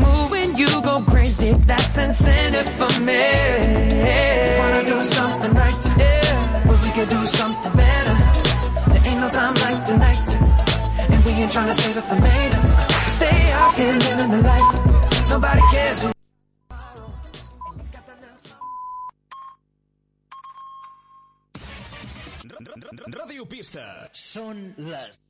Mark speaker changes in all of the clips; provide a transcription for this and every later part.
Speaker 1: moving, you go crazy. That's incentive for me.
Speaker 2: Wanna do something right,
Speaker 1: Yeah,
Speaker 2: but we can do something better. There ain't no time like tonight, and we ain't trying to save it for later. Stay out here living the life. Nobody cares who.
Speaker 3: Radio Pista.
Speaker 4: Són les...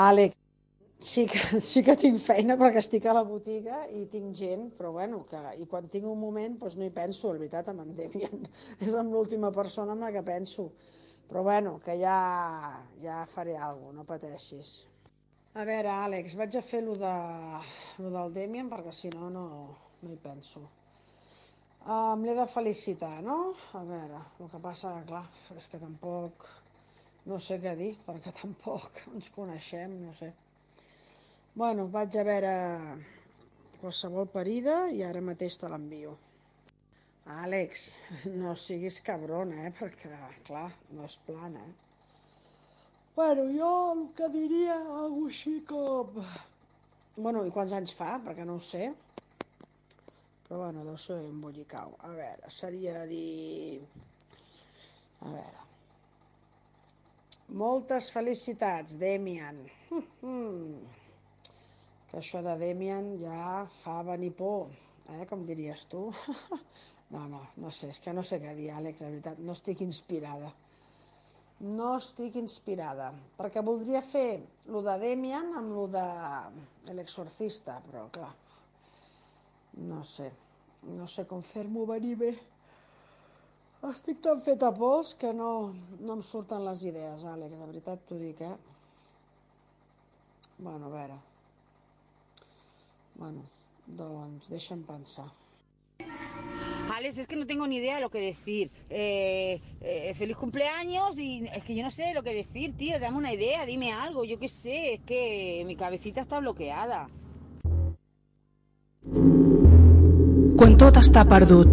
Speaker 5: Àlex, sí que, sí que tinc feina perquè estic a la botiga i tinc gent, però bueno, que, i quan tinc un moment doncs no hi penso, la veritat, amb en Demian. És amb l'última persona amb la que penso. Però bueno, que ja, ja faré alguna cosa, no pateixis. A veure, Àlex, vaig a fer lo, de, lo del Demian perquè si no, no, no hi penso. Ah, Em l'he de felicitar, no? A veure, el que passa, clar, és que tampoc no sé què dir, perquè tampoc ens coneixem, no sé. Bueno, vaig a veure qualsevol parida i ara mateix te l'envio. Àlex, no siguis cabrona, eh? Perquè, clar, no és plana, eh? Bueno, jo el que diria, algo així com... Bueno, i quants anys fa? Perquè no ho sé. Però bueno, deu ser un bollicau. A veure, seria dir... A veure... Moltes felicitats, Demian. Hm, que això de Demian ja fa venir por, eh? com diries tu. no, no, no sé, és que no sé què dir, Àlex, la veritat, no estic inspirada. No estic inspirada, perquè voldria fer lo de Demian amb lo de l'exorcista, però clar, no sé, no sé com fer-m'ho venir bé. Estic tan feta pols que no, no em surten les idees, Àlex, de veritat t'ho dic, eh? Bueno, a veure. Bueno, doncs deixa'm pensar.
Speaker 6: Alex, es que no tengo ni idea de lo que decir. Eh, eh, feliz cumpleaños y es que yo no sé lo que decir, tío. Dame una idea, dime algo, yo qué sé. Es que mi cabecita está bloqueada.
Speaker 7: Quan tot està perdut.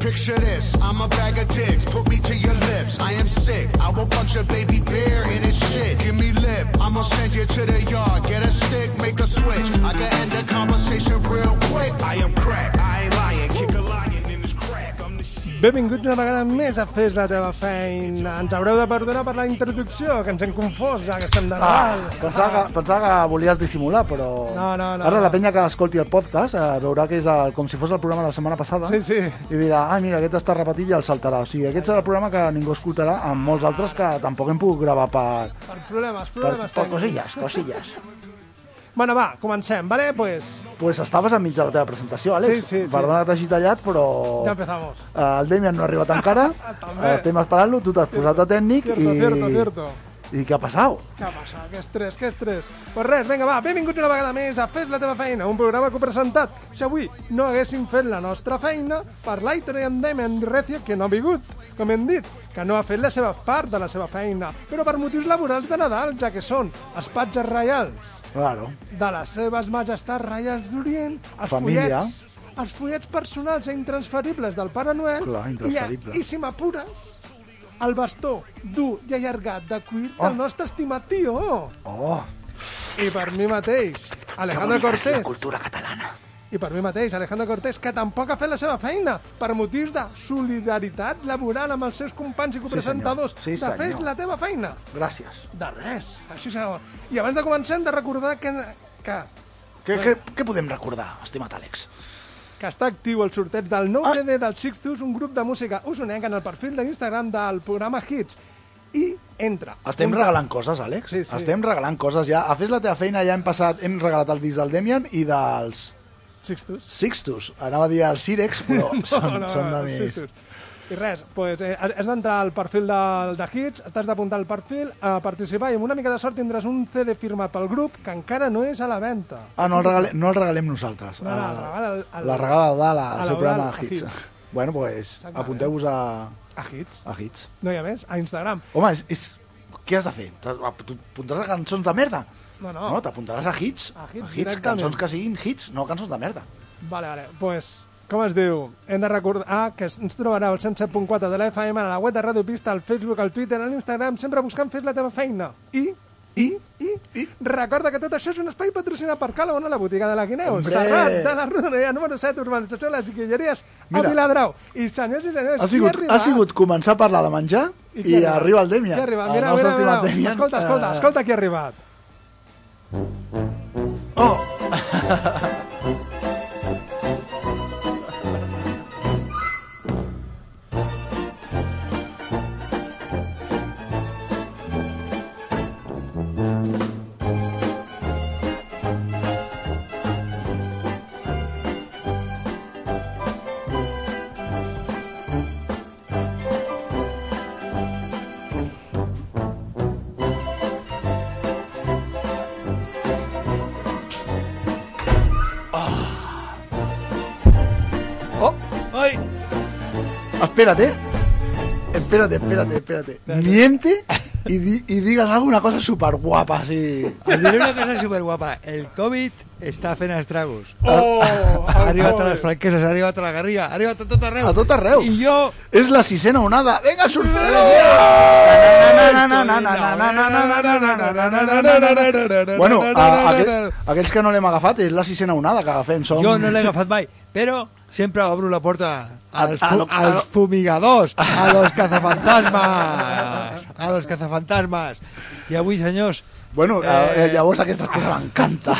Speaker 8: Picture this, I'm a bag of dicks, put me to your lips. I am sick, I will punch a baby bear in his shit. Give me lip, I'ma send you to the yard, get a stick, make a switch. I can end the conversation real quick. I am crack, I ain't lying, kick a lion in his crack. I'm the shit.
Speaker 9: Benvinguts una vegada més a Fes la teva feina. Ens haureu de perdonar per la introducció, que ens hem confós, ja que estem de
Speaker 10: Ah,
Speaker 9: Nadal.
Speaker 10: pensava, que, pensava que volies dissimular, però...
Speaker 9: No, no, no,
Speaker 10: Ara
Speaker 9: no.
Speaker 10: la penya que escolti el podcast eh, veurà que és el, com si fos el programa de la setmana passada
Speaker 9: Sí, sí.
Speaker 10: i dirà, ah, mira, aquest està repetit i el saltarà. O sigui, aquest serà el programa que ningú escoltarà amb molts altres que tampoc hem pogut gravar per,
Speaker 9: Per problemes,
Speaker 10: per,
Speaker 9: problemes
Speaker 10: per
Speaker 9: tècnics.
Speaker 10: cosilles, cosilles.
Speaker 9: Bueno, va, comencem, vale? Pues,
Speaker 10: pues estaves enmig de la teva presentació, Àlex.
Speaker 9: Sí, sí, sí.
Speaker 10: Perdona que t'hagi tallat, però...
Speaker 9: ja empezamos. Ah,
Speaker 10: Eh, El Demian no ha arribat encara,
Speaker 9: També.
Speaker 10: eh, estem esperant-lo, tu t'has posat de tècnic
Speaker 9: Cierto,
Speaker 10: i...
Speaker 9: cierto, cierto.
Speaker 10: I què ha passat?
Speaker 9: Què passa? Que estrès, que estrès. Pues res, vinga, va, benvinguts una vegada més a Fes la teva feina, un programa que he presentat. Si avui no haguéssim fet la nostra feina, per l'Aitor i en Demian Recio, que no ha vingut, com hem dit, que no ha fet la seva part de la seva feina, però per motius laborals de Nadal, ja que són els patges reials
Speaker 10: Claro.
Speaker 9: de les seves majestats reials d'Orient, els
Speaker 10: Família.
Speaker 9: follets, els follets personals i intransferibles del Pare Noel,
Speaker 10: Clar,
Speaker 9: i, a,
Speaker 10: intransferible.
Speaker 9: i si m'apures, el bastó dur i allargat de cuir
Speaker 10: Oh.
Speaker 9: del nostre estimat tio.
Speaker 10: Oh,
Speaker 9: I per mi mateix, Alejandro
Speaker 10: la
Speaker 9: Cortés.
Speaker 10: cultura catalana.
Speaker 9: I per mi mateix, Alejandro Cortés, que tampoc ha fet la seva feina per motius de solidaritat laboral amb els seus companys i copresentadors.
Speaker 10: Sí,
Speaker 9: de
Speaker 10: senyor.
Speaker 9: fes la teva feina.
Speaker 10: Gràcies.
Speaker 9: De res. Així serà. I abans de començar hem de recordar que, que,
Speaker 10: Què, què, què podem recordar, estimat Àlex?
Speaker 9: que està actiu el sorteig del nou
Speaker 10: Ah.
Speaker 9: CD del Sixtus, un grup de música usonenca en el perfil de l'Instagram del programa Hits. I entra.
Speaker 10: Estem
Speaker 9: Un-
Speaker 10: regalant coses, Àlex?
Speaker 9: Sí, sí.
Speaker 10: Estem regalant coses ja. A Fes la teva feina ja hem passat, hem regalat el disc del Demian i dels...
Speaker 9: Sixtus.
Speaker 10: Sixtus. Anava a dir el Sirex, però són, no, no, són de més.
Speaker 9: sí, sí. I res, doncs, eh, has d'entrar al perfil de, de Hits, t'has d'apuntar al perfil, a participar i amb una mica de sort tindràs un CD firmat pel grup que encara no és a la venda.
Speaker 10: Ah, no el, regalem, no el regalem nosaltres. Ah,
Speaker 9: No, no, el regala el- el-
Speaker 10: la regala l'Eudal al
Speaker 9: a
Speaker 10: seu
Speaker 9: l'Eudal, a
Speaker 10: programa Hits.
Speaker 9: Hits.
Speaker 10: Bueno, doncs pues,
Speaker 9: Exactament.
Speaker 10: apunteu-vos a,
Speaker 9: A Hits.
Speaker 10: a Hits.
Speaker 9: No hi ha més? A Instagram.
Speaker 10: Home, és, és... què has de fer? ah, T'apuntaràs a cançons de merda?
Speaker 9: No, no.
Speaker 10: No, t'apuntaràs a hits.
Speaker 9: A hits
Speaker 10: hits
Speaker 9: directament.
Speaker 10: cançons que siguin hits, no cançons de merda.
Speaker 9: Vale, vale. Pues, com es diu? Hem de recordar ah, que ens trobarà al 107.4 de la FM, a la web de Ràdio Pista, al Facebook, al Twitter, a l'Instagram, sempre buscant Fes la teva feina. I... I, i, i, recorda que tot això és un espai patrocinat per Calabona, la botiga de la Guineu,
Speaker 10: Hombre!
Speaker 9: Serrat, de la Rodonella, número 7, urbanització, les guilleries, a
Speaker 10: Mira.
Speaker 9: Viladrau. I senyors i senyors,
Speaker 10: Ha sigut,
Speaker 9: qui
Speaker 10: ha sigut començar a parlar de menjar
Speaker 9: I
Speaker 10: i,
Speaker 9: qui arriba?
Speaker 10: arriba el Demian.
Speaker 9: Qui arriba?
Speaker 10: el
Speaker 9: Mira,
Speaker 10: nostre
Speaker 9: mira, mira.
Speaker 10: estimat Demian.
Speaker 9: Escolta, escolta,
Speaker 10: Eh,
Speaker 9: escolta qui ha arribat.
Speaker 10: Oh! Oh! Ai! Espérate. Espérate, espérate, espérate. Miente y, di- y digas alguna cosa súper guapa así.
Speaker 4: Os Pues diré una cosa súper guapa. El COVID està fent estragos.
Speaker 9: Oh,
Speaker 4: Ha arribat a les franqueses, ha arribat a la Garriga, ha arribat a tot arreu.
Speaker 10: A tot arreu.
Speaker 4: I jo...
Speaker 10: Es la sisena onada. Venga, surfero. Bueno, a, aquell, aquells que no l'hem agafat és la sisena onada que agafem. Som...
Speaker 4: Jo no l'he agafat mai, però sempre obro la porta als,
Speaker 10: A- a lo-
Speaker 4: fu
Speaker 10: a lo-
Speaker 4: als fumigadors, a los cazafantasmes, a los cazafantasmes. I avui, senyors,
Speaker 10: Bueno, eh,
Speaker 4: Eh,
Speaker 10: llavors aquestes coses m'encanta.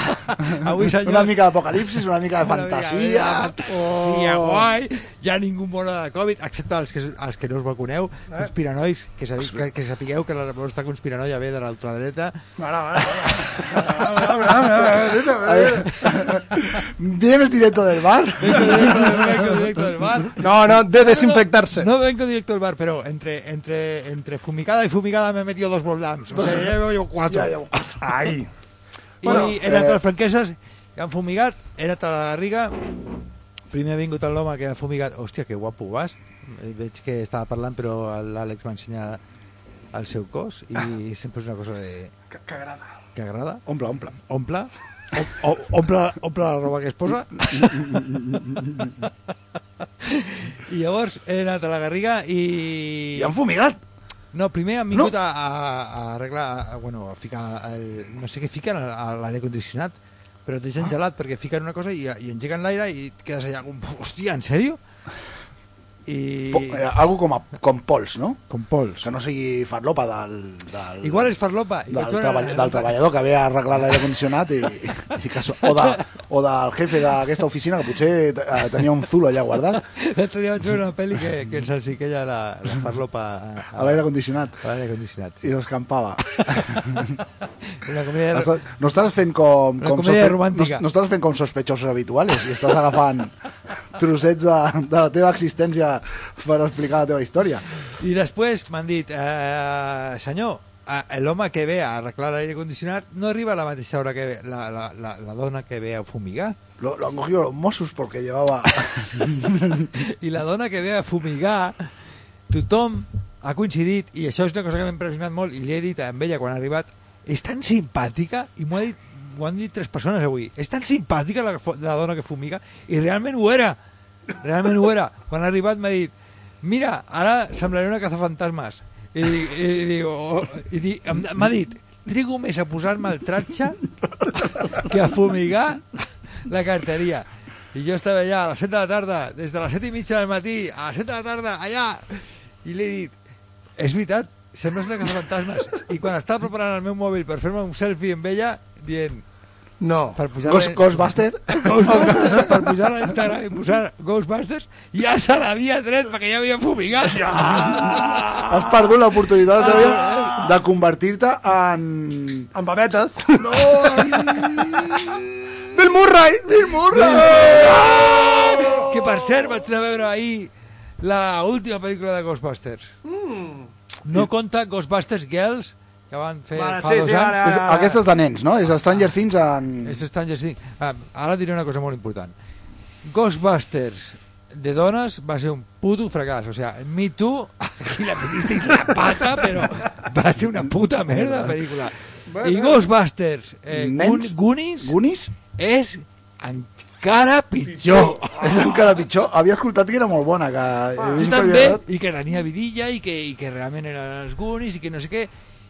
Speaker 4: Avui, senyor-
Speaker 10: Una mica d'apocalipsis, una mica de Oh.
Speaker 4: Una mica de
Speaker 10: fantasia.
Speaker 4: fantasia, guai. Ja ningú mora de Covid, excepte els que, els que no us vacuneu, conspiranois, que, sabi, que, que sapigueu que la vostra conspiranoia ve de l'ultradreta.
Speaker 9: Vale, vale, vale. Vale, vale, vale.
Speaker 10: A ver. ¿Vienes directo del bar?
Speaker 4: Vengo directo, del- vengo directo del bar.
Speaker 9: No, no, de desinfectarse.
Speaker 4: No vengo directo del bar, pero entre, entre, entre fumigada y fumigada me he metido dos Boldams. O sea, ya llevo yo cuatro.
Speaker 10: Ja, ja.
Speaker 9: Ai.
Speaker 4: I bueno, he
Speaker 10: eh,
Speaker 4: anat a les franqueses, que han fumigat, he anat a la Garriga, primer ha vingut l'home que ha fumigat, hòstia, que guapo vas, Eh, veig que estava parlant, però l'Àlex m'ha ensenyat el seu cos, i sempre és una cosa de...
Speaker 9: Que, que agrada.
Speaker 4: que agrada,
Speaker 10: Omple, omple.
Speaker 4: omple, om, o- omple, omple la roba que es posa. I llavors he anat a la Garriga i...
Speaker 10: I han fumigat.
Speaker 4: No, primer han vingut no. a, a, a arreglar, a, bueno, a ficar el, no sé què fiquen a, a l'aire condicionat, però et deixen gelat perquè fiquen una cosa i, i engeguen l'aire i et quedes allà com, hòstia, en sèrio? I...
Speaker 10: Po- eh, Algo com, a, com pols, no?
Speaker 4: Com pols.
Speaker 10: Que no sigui farlopa del... del
Speaker 4: Igual és farlopa.
Speaker 10: Del,
Speaker 4: Igual
Speaker 10: treball, del treballador que ve a arreglar l'aire condicionat i, i que, so- o, de, o del jefe d'aquesta oficina que potser eh, tenia un zulo allà guardat
Speaker 4: L'altre dia vaig veure una pel·li que, que ens ensiquella la, la farlopa a,
Speaker 10: a l'aire condicionat
Speaker 4: a l'aire condicionat.
Speaker 10: i s'escampava.
Speaker 4: Una comèdia...
Speaker 10: Estàs- No estàs fent com...
Speaker 4: Una
Speaker 10: com
Speaker 4: comèdia
Speaker 10: sospe-
Speaker 4: romàntica.
Speaker 10: No, no estàs fent com sospechosos habituals i estàs agafant trossets de, de la teva existència per explicar la teva història.
Speaker 4: I després m'han dit, eh, senyor, eh, l'home que ve a arreglar l'aire condicionat no arriba a la mateixa hora que ve, la, la, la, la dona que ve a fumigar.
Speaker 10: Lo, lo han cogido los Mossos porque llevaba...
Speaker 4: I la dona que ve a fumigar, tothom ha coincidit, i això és una cosa que m'ha impressionat molt, i li he dit a ella quan ha arribat, és tan simpàtica, i m'ho ha dit m'ho han dit tres persones avui. És tan simpàtica la, fo- la dona que fumiga i realment ho era. Realment ho era. Quan ha arribat m'ha dit mira, ara semblaré una cazafantasmes. I, dic- i, dic, "Oh", i, dic- em- m'ha dit trigo més a posar-me el tratge que a fumigar la carteria. I jo estava allà a les 7 de la tarda, des de les 7 i mitja del matí, a les 7 de la tarda, allà, i li he dit, és veritat, sembles una cazafantasmes. I quan estava preparant el meu mòbil per fer-me un selfie amb ella, dient,
Speaker 9: No.
Speaker 4: per pujar
Speaker 10: Ghost, Ghostbuster.
Speaker 4: Ghostbusters per posar a Instagram i posar Ghostbusters ja se l'havia tret perquè ja havia fumigat
Speaker 10: Has perdut l'oportunitat de,
Speaker 4: Ah.
Speaker 10: vida de convertir-te en...
Speaker 9: Amb babetes.
Speaker 10: No, en...
Speaker 9: Bill Murray!
Speaker 10: Bill Murray!
Speaker 4: Que per cert vaig anar a veure ahir la última pel·lícula de Ghostbusters. No compta Ghostbusters Girls, que van fer
Speaker 9: Vale,
Speaker 4: fa
Speaker 9: sí,
Speaker 4: dos
Speaker 9: sí,
Speaker 4: anys.
Speaker 9: vale,
Speaker 10: És, aquesta és de nens, no? És Stranger Things en...
Speaker 4: És estrany, sí. Ah, ara diré una cosa molt important. Ghostbusters de dones va ser un puto fracàs. O sea, Me Too, aquí la metisteis la pata, però va ser una puta merda de pel·lícula. I Ghostbusters eh, Goon-
Speaker 10: Nens?
Speaker 4: Goonies
Speaker 10: Goonies?
Speaker 4: és encara pitjor.
Speaker 10: És encara pitjor. Havia escoltat que era molt bona, que... he
Speaker 4: Jo
Speaker 10: vist per
Speaker 4: també,
Speaker 10: veritat.
Speaker 4: i que tenia vidilla, i que, i que realment eren els Goonies, i que no sé què,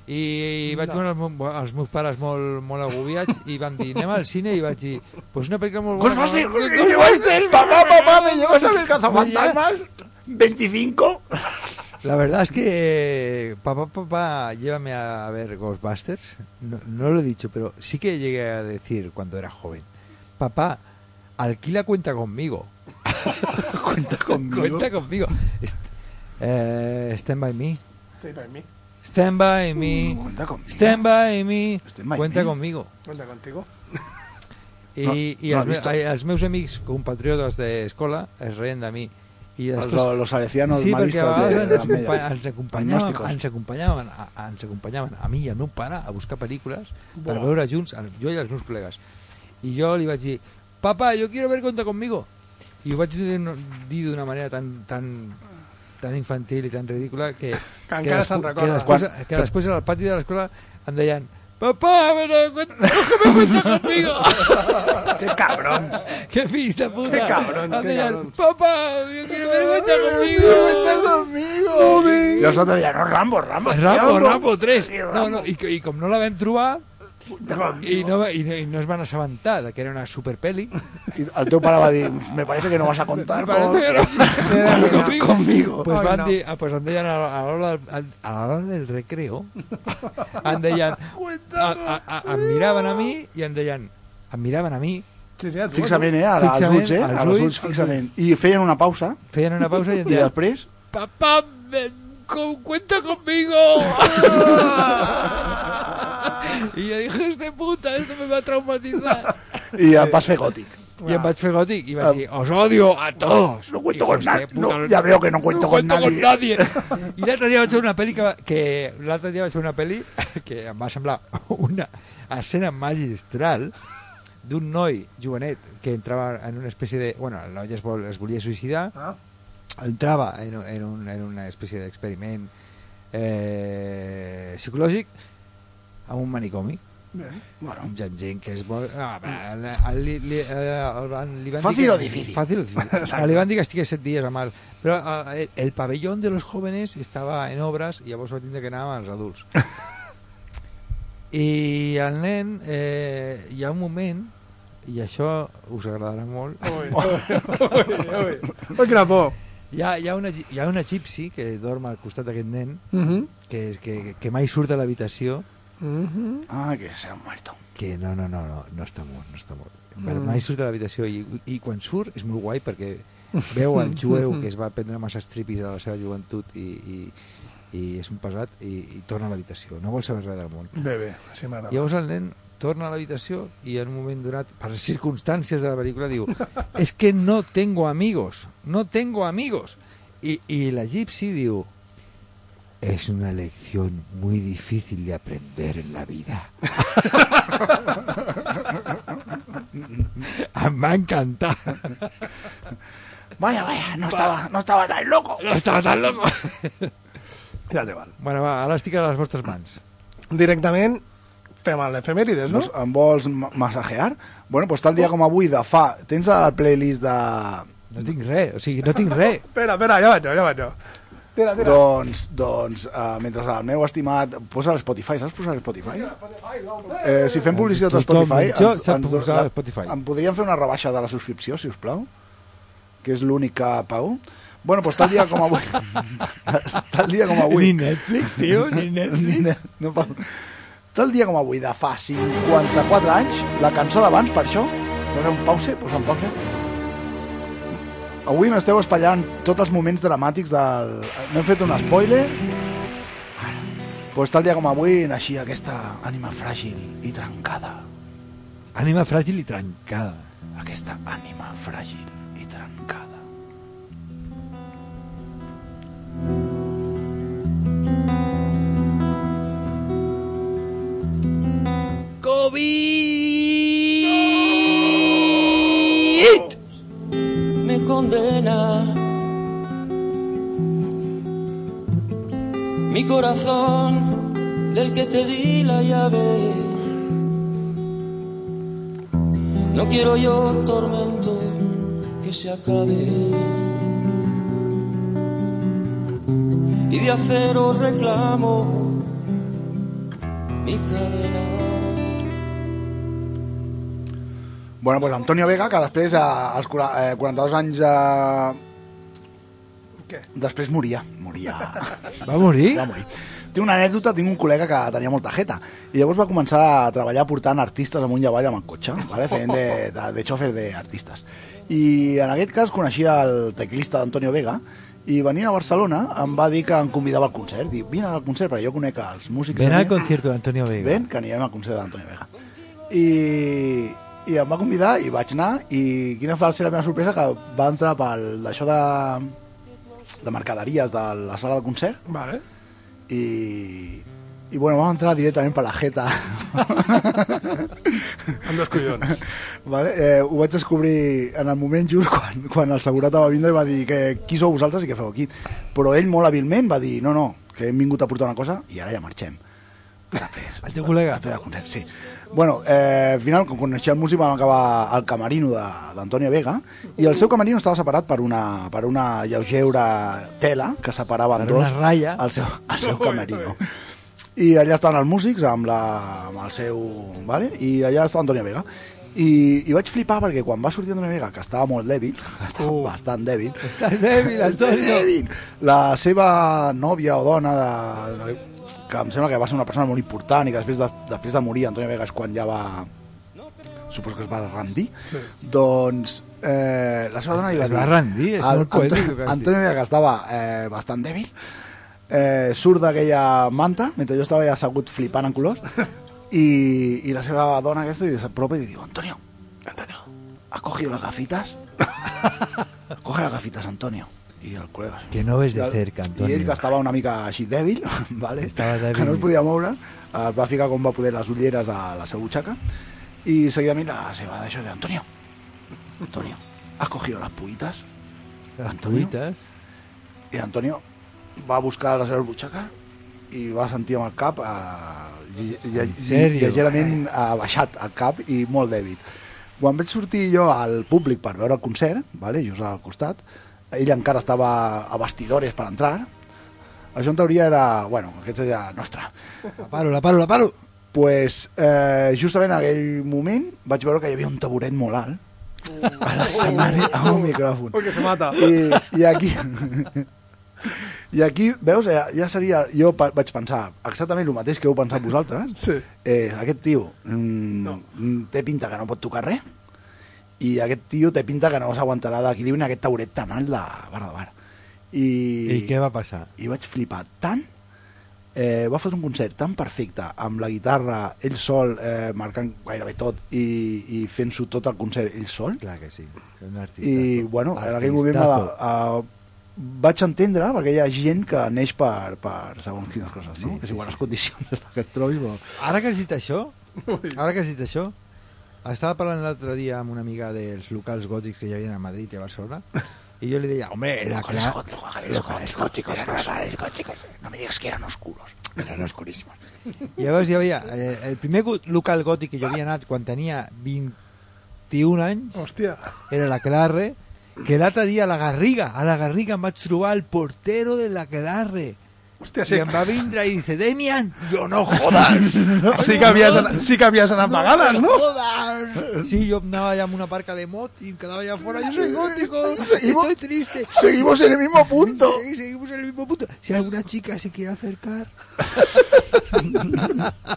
Speaker 4: i, vaig veure els, meus, els meus pares molt, molt agobiats i van dir, anem al cine, i vaig dir, pues una pel·lícula molt bona...
Speaker 10: Ghostbusters,
Speaker 4: que-
Speaker 10: Goonies, Ghostbusters, papá, papá, me llevas a ver cazafantasmas. 25.
Speaker 4: La verdad es que papá, papá, llévame a ver Ghostbusters. No, no lo he dicho, pero sí que llegué a decir cuando era joven. Papá, alquila cuenta conmigo.
Speaker 10: Cuenta conmigo.
Speaker 4: Cuenta conmigo. Est- eh, stand by me.
Speaker 9: Stay by me.
Speaker 4: Stand by me.
Speaker 10: Cuenta conmigo.
Speaker 4: Stand by me.
Speaker 10: Stand by
Speaker 4: cuenta
Speaker 10: me.
Speaker 4: conmigo.
Speaker 9: Cuenta contigo.
Speaker 4: I, i
Speaker 10: No, no
Speaker 4: els,
Speaker 10: l'he
Speaker 4: me,
Speaker 10: vist.
Speaker 4: ai, els meus amics compatriotes d'escola es reien de mi. I
Speaker 10: Els,
Speaker 4: després,
Speaker 10: los salesianos
Speaker 4: sí, perquè a
Speaker 10: malistas de,
Speaker 4: vegades
Speaker 10: de
Speaker 4: ens,
Speaker 10: les
Speaker 4: acompa ens, acompanyaven,
Speaker 10: medias. Agnòsticos.
Speaker 4: ens, acompanyaven, a, a- ens acompanyaven a mi i al meu pare a buscar pel·lícules per veure junts, el- jo i els meus col·legues. I "Oh." jo li vaig dir, papa, jo quiero ver Conta conmigo. I ho vaig dir d'una- dir d'una manera tan, tan, tan infantil i tan ridícula que, que,
Speaker 9: encara
Speaker 4: despu-
Speaker 9: se'n
Speaker 4: que,
Speaker 9: recorda.
Speaker 4: després, que després al pati de l'escola em deien Papá, pero cógeme cuenta conmigo.
Speaker 9: ¡Qué cabrón!
Speaker 4: ¡Qué fills de puta!
Speaker 9: Qué cabrón,
Speaker 4: Em
Speaker 9: qué
Speaker 4: deien,
Speaker 9: cabrón.
Speaker 4: Papá, yo quiero ver cuenta conmigo.
Speaker 10: I els altres deien, no, Rambo, Rambo.
Speaker 4: Rambo, Rambo 3. No, no, i, i com no la vam trobar
Speaker 10: Cuenta conmigo.
Speaker 4: i no, i, no- i no es van assabentar de que era una superpeli
Speaker 10: I el teu pare va dir, me parece que no vas a contar con...
Speaker 4: Parece que no.
Speaker 10: Conmigo. conmigo.
Speaker 4: pues
Speaker 9: Ai,
Speaker 4: van
Speaker 9: no.
Speaker 4: dir, ah, pues em deien a la- a l'hora del- a l'hora del recreo em deien a, a, a, em miraven a mi i em deien em miraven a mi,
Speaker 9: Sí, sí, a tu,
Speaker 10: Fixament, eh? Ara, als
Speaker 4: Fixament,
Speaker 10: ulls, eh?
Speaker 4: als
Speaker 10: Als
Speaker 4: ulls,
Speaker 10: ulls, fixament. I feien una pausa,
Speaker 4: feien una pausa i em
Speaker 10: i
Speaker 4: deien
Speaker 10: després...
Speaker 4: papá ven con- cuenta conmigo y yo dije este puta esto me va a traumatizar
Speaker 10: I et vas fer gòtic.
Speaker 4: Y en vaig fer gòtic i vaig dir, os odio a todos.
Speaker 10: Pues No cuento
Speaker 4: Hijos
Speaker 10: con
Speaker 4: de
Speaker 10: nadie.
Speaker 4: puta,
Speaker 10: No, ya veo que no cuento con nadie.
Speaker 4: con nadie. I l'altre dia vaig fer una pel·li que, va- que l'altre dia vaig fer una pel·li que em va semblar una escena magistral d'un noi jovenet que entrava en una espècie de... Bueno, el noi es, vol, es volia suïcidar,
Speaker 9: Ah.
Speaker 4: entrava en, en, un, en una espècie d'experiment eh, psicològic amb un manicomi. Bueno. Hi ha gent que és molt... Ah, va, li, li, li, eh, el van, li van
Speaker 10: Fàcil
Speaker 4: dir que-
Speaker 10: o difícil?
Speaker 4: Fàcil o difícil. li van dir que estigués set dies a mal. Però eh, el pabellón de los jóvenes estava en obres i llavors va tindre que anar amb els adults. I el nen, eh, hi ha un moment, i això us agradarà molt,
Speaker 9: Ui, ui, ui. Ui, quina por.
Speaker 4: hi ha, hi ha, una, gi- hi ha una gipsy que dorm al costat d'aquest nen,
Speaker 9: Mhm.
Speaker 4: que, que, que mai surt de l'habitació,
Speaker 9: Mhm.
Speaker 10: Ah, que s'ha mort.
Speaker 4: que no, no, no, no, no està mort, no està mort. Però mai surt de l'habitació i, i quan surt és molt guai perquè veu el jueu que es va prendre massa stripis a la seva joventut i, i, i és un pesat i, i torna a l'habitació, no vol saber res del món.
Speaker 9: Bé, bé, així m'agrada.
Speaker 4: Llavors el nen torna a l'habitació i en un moment donat, per les circumstàncies de la pel·lícula, diu és es que no tengo amigos, no tengo amigos. I, i la Gypsy diu és una lección muy difícil de aprender en la vida. em va encantar.
Speaker 10: Vaya, vaya, no estaba, no estaba tan loco.
Speaker 4: No estava tan loco.
Speaker 9: Ja te val.
Speaker 4: Bueno, va, ara estic a les vostres mans.
Speaker 9: Directament fem el efemèrides, no?
Speaker 10: No? Em vols ma- massajear? Bueno, pues tal dia com avui de fa... Tens el playlist de...
Speaker 4: Oh. No tinc res, o sigui, no tinc res.
Speaker 9: Espera, espera, ja vaig jo, ja vaig jo. Tira, tira.
Speaker 10: Doncs, doncs, uh, mentre el meu estimat... Posa a Spotify, saps posar a Spotify? Eh, si fem publicitat a
Speaker 4: Tothom
Speaker 10: Spotify...
Speaker 4: mitjà sap
Speaker 10: do-
Speaker 4: posar
Speaker 10: la-
Speaker 4: a Spotify.
Speaker 10: Em podrien fer una rebaixa de la subscripció, si us plau? Que és l'únic que pago. Bueno, pues tal dia com avui... tal dia com avui...
Speaker 4: Ni Netflix, tio, ni Netflix.
Speaker 10: Ni net- no pago. Tal dia com avui, de fa 54 anys, la cançó d'abans, per això, posa un pause, posa un pause. Avui m'esteu espallant tots els moments dramàtics del... N'he fet un spoiler. Doncs pues tal dia com avui naixia aquesta ànima fràgil i trencada
Speaker 4: Ànima fràgil i trencada.
Speaker 10: Aquesta ànima fràgil i trencada.
Speaker 11: me condena. Mi corazón, del que te di la llave. No quiero yo tormento que se acabe. Y de acero reclamo mi cadena.
Speaker 10: Bueno, pues Antonio Vega, que després, eh, als 40, eh, 42 anys... Eh...
Speaker 9: Què?
Speaker 10: Després moria. Moria.
Speaker 4: Va morir?
Speaker 10: Va morir. Tinc una anècdota, tinc un col·lega que tenia molta jeta i llavors va començar a treballar portant artistes amunt i avall amb el cotxe, ¿vale? fent de, de, de xòfer d'artistes. I en aquest cas coneixia el teclista d'Antonio Vega i venint a Barcelona em va dir que em convidava al concert. Diu, vine al concert, perquè jo conec els músics...
Speaker 4: Ven al
Speaker 10: aquí".
Speaker 4: concierto de Antonio Vega.
Speaker 10: Ven, que anirem al concert d'Antoni Vega. I, I em va convidar i vaig anar i quina va ser la meva sorpresa que va entrar pel d'això de, de mercaderies de la sala de concert
Speaker 9: Vale.
Speaker 10: i, i bueno, vam entrar directament per la jeta.
Speaker 9: Amb dos collons.
Speaker 10: vale? eh, ho vaig descobrir en el moment just quan, quan el segurata va vindre i va dir que qui sou vosaltres i què feu aquí. Però ell molt habilment va dir no, no, que hem vingut a portar una cosa i ara ja marxem. Després,
Speaker 4: El teu col·lega.
Speaker 10: Espera, concert, sí. Bueno, eh, al final, com coneixia el músic, vam acabar al camerino de- d'Antonio Vega i el seu camerino estava separat per una, per una lleugeura tela que separava en
Speaker 4: Per una
Speaker 10: dos
Speaker 4: ratlla.
Speaker 10: el seu, el seu camerino. I allà estaven els músics amb, la, amb el seu... Vale? I allà estava Antonio Vega. I, I vaig flipar perquè quan va sortir Antonio Vega, que estava molt dèbil, que estava uh. bastant dèbil,
Speaker 4: Estàs dèbil, Antonio.
Speaker 10: Dèbil. La seva nòvia o dona de, que em sembla que va ser una persona molt important i que després de, després de morir Antonio Vegas quan ja va suposo que es va rendir
Speaker 9: Sí.
Speaker 10: doncs eh, la seva dona li va
Speaker 4: Es
Speaker 10: dir
Speaker 4: va rendir, és
Speaker 10: "Al-
Speaker 4: molt poètic el
Speaker 10: Anto-
Speaker 4: que has dit."
Speaker 10: Antonio Vegas estava eh, bastant dèbil eh, surt d'aquella manta mentre jo estava ja assegut flipant en colors i, i la seva dona aquesta li s'apropa i li diu Antonio, Antonio ¿has cogido las gafitas? coge las gafitas Antonio i el col·lega sí.
Speaker 4: Que no ves de
Speaker 10: I el-
Speaker 4: cerca,
Speaker 10: I ell, que
Speaker 4: Antonio.
Speaker 10: estava una mica així dèbil, vale?
Speaker 4: Estava dèbil.
Speaker 10: que no es podia moure, es va ficar com va poder les ulleres a la seva butxaca i seguidament la seva d'això de Antonio, Antonio, has cogido las puitas?
Speaker 4: Les
Speaker 10: Antonio?
Speaker 4: tuites.
Speaker 10: I Antonio va buscar les seves butxaques i va sentir amb el cap eh, lle- lle-
Speaker 4: En sèrio?
Speaker 10: lleugerament eh, baixat el cap i molt dèbil. Quan vaig sortir jo al públic per veure el concert, vale, just al costat, ell encara estava a vestidores per entrar, això en teoria era, bueno, aquesta ja nostra.
Speaker 4: La paro, la paro, la paro.
Speaker 10: pues, eh, justament en aquell moment vaig veure que hi havia un taburet molt alt a l'escenari amb un micròfon.
Speaker 9: Ui, Oh. que se mata.
Speaker 10: I, i aquí... I aquí, veus, ja, ja seria... Jo pa, vaig pensar exactament el mateix que heu pensat vosaltres.
Speaker 9: Sí.
Speaker 10: Eh, aquest tio mm, mm, té pinta que no pot tocar res i aquest tio té pinta que no s'aguantarà d'equilibri en aquest tauret tan alt de bar de bar. I,
Speaker 4: I què va passar?
Speaker 10: I vaig flipar tant eh, va fer un concert tan perfecte amb la guitarra, ell sol eh, marcant gairebé tot i, i fent-s'ho tot el concert ell sol
Speaker 4: Clar que sí. és Un artista.
Speaker 10: i bueno, en aquell moment va,
Speaker 4: Artistazo.
Speaker 10: uh, vaig entendre perquè hi ha gent que neix per, per segons quines coses, no?
Speaker 4: Sí,
Speaker 10: que
Speaker 4: sí,
Speaker 10: és igual
Speaker 4: sí,
Speaker 10: les condicions en les que et trobis però...
Speaker 4: Ara que has dit això, ara que has dit això, estava parlant l'altre dia amb una amiga dels locals gòtics que hi havia a Madrid i a Barcelona, i jo li deia, home, la cla...
Speaker 10: Los góticos, los góticos. No me digas que eran oscuros. Eran oscurísimos.
Speaker 4: I llavors hi havia eh, el primer go- local gòtic que jo havia anat quan tenia 21 anys,
Speaker 9: Hòstia.
Speaker 4: era la Clarre, que l'altre dia a la Garriga, a la Garriga em vaig trobar el portero de la Clarre,
Speaker 9: Hòstia,
Speaker 4: i
Speaker 9: sí.
Speaker 4: em va vindre i dice, Demian, jo no jodas,
Speaker 9: Sí que havies anat, sí que havies anat vegades, no?
Speaker 4: jodas. Sí, yo andaba allá en una parca de mot em y quedaba allá afuera. Yo soy gótico, estoy triste.
Speaker 10: Seguimos en el mismo punto.
Speaker 4: Sí, seguimos en el mismo punto. Si alguna chica se quiere acercar,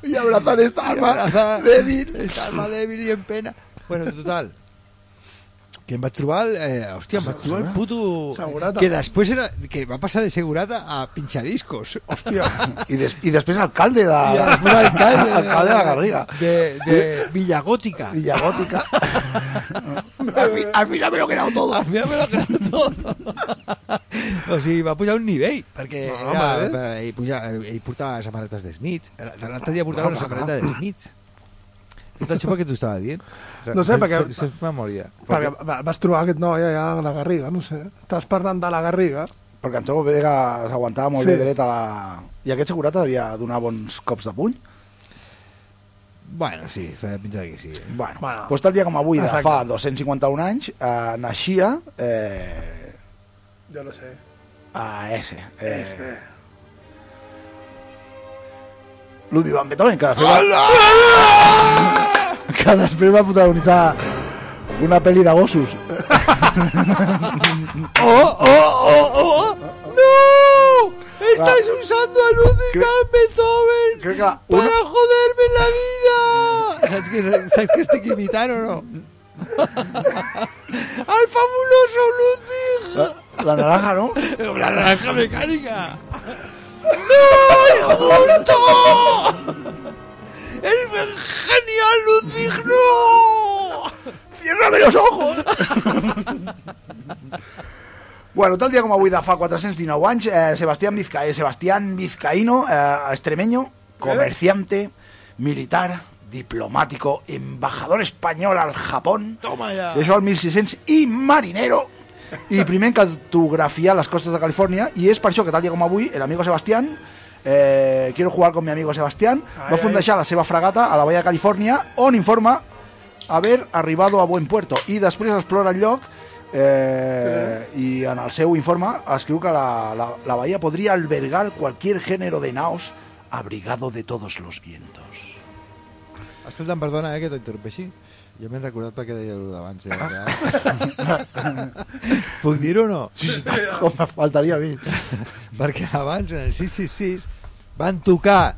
Speaker 10: Y abrazar esta alma
Speaker 4: abrazar.
Speaker 10: débil.
Speaker 4: está más débil y en pena. Bueno, total. que em vaig trobar el, eh, hòstia, em vaig trobar el puto
Speaker 9: Segurata.
Speaker 4: que després era, que va passar de segurata a pinxadiscos
Speaker 9: hòstia,
Speaker 10: I, des, i després alcalde de,
Speaker 4: I després alcalde,
Speaker 10: alcalde de la Garriga.
Speaker 4: de, de Villagótica
Speaker 10: Villagótica. al, fi- al final me lo he quedado todo.
Speaker 4: A mi me lo quedo tot. o sigui, va pujar un nivell, perquè
Speaker 9: No,
Speaker 4: era,
Speaker 9: home, eh?
Speaker 4: per, ell, puja, ell portava samarretes de Smith. L'altre dia
Speaker 10: Ah,
Speaker 4: portava una samarreta de Smith. Tot això per què t'ho estava dient?
Speaker 9: No sé, perquè-
Speaker 4: Se, se memòria.
Speaker 9: Perquè va- vas trobar aquest noi allà a la Garriga, no sé. Estàs parlant de la Garriga.
Speaker 10: Perquè Anteu Vega s'aguantava molt
Speaker 9: Sí.
Speaker 10: sí. bé dret a la... I aquest segurata devia donar bons cops de puny.
Speaker 4: Bueno, sí, feia pinta de que sí. eh?
Speaker 10: Bueno,
Speaker 9: Bueno.
Speaker 10: bueno. Doncs tal dia com avui, de
Speaker 9: Exacte.
Speaker 10: fa 251 anys, eh, naixia eh,
Speaker 9: Jo no sé.
Speaker 10: a S. Eh, este. Ludwig van Beethoven, que després, va... que després va protagonitzar una pel·li de gossos.
Speaker 4: ¡Oh, oh, oh, oh! ¡No! ¡Estáis usando a Ludwig
Speaker 10: Creo-
Speaker 4: van Beethoven
Speaker 10: creo que la-
Speaker 4: para
Speaker 10: una-
Speaker 4: joderme la vida! ¿Sabes que, sabes que este que imitar o no? ¡Al fabuloso
Speaker 10: La, la naranja, no?
Speaker 4: Ludwig! ¡La naranja mecánica! ¡No, injusto! ¡El genial Ludwig no!
Speaker 10: ¡Ciérrame los ojos! bueno, tal dia com avui de fa 419 anys, eh, Sebastián, Vizca, eh, Sebastián Vizcaíno, eh, extremeño, comerciante, militar, diplomático, embajador español al Japón,
Speaker 4: ¡Toma ya!
Speaker 10: això al 1600, i marinero, i primer en cartografiar les costes de Califòrnia, i és per això que tal dia com avui, el amigo Sebastián, eh, quiero jugar con mi amigo Sebastián,
Speaker 4: Ah.
Speaker 9: Ai,
Speaker 10: va
Speaker 9: ai.
Speaker 10: fundejar la seva fregata a la Valla de Califòrnia, on informa haver arribat a buen puerto i després explora el lloc eh, i en el seu informe escriu que la, la, la bahía podria albergar cualquier género de naos abrigado de todos los vientos.
Speaker 4: Escolta'm, perdona, eh, que t'interrompeixi. Ja m'he recordat perquè deia allò d'abans. Eh? que- Puc dir-ho o no?
Speaker 10: Sí, sí, com me faltaria a mi.
Speaker 4: Perquè abans, en el 666, van tocar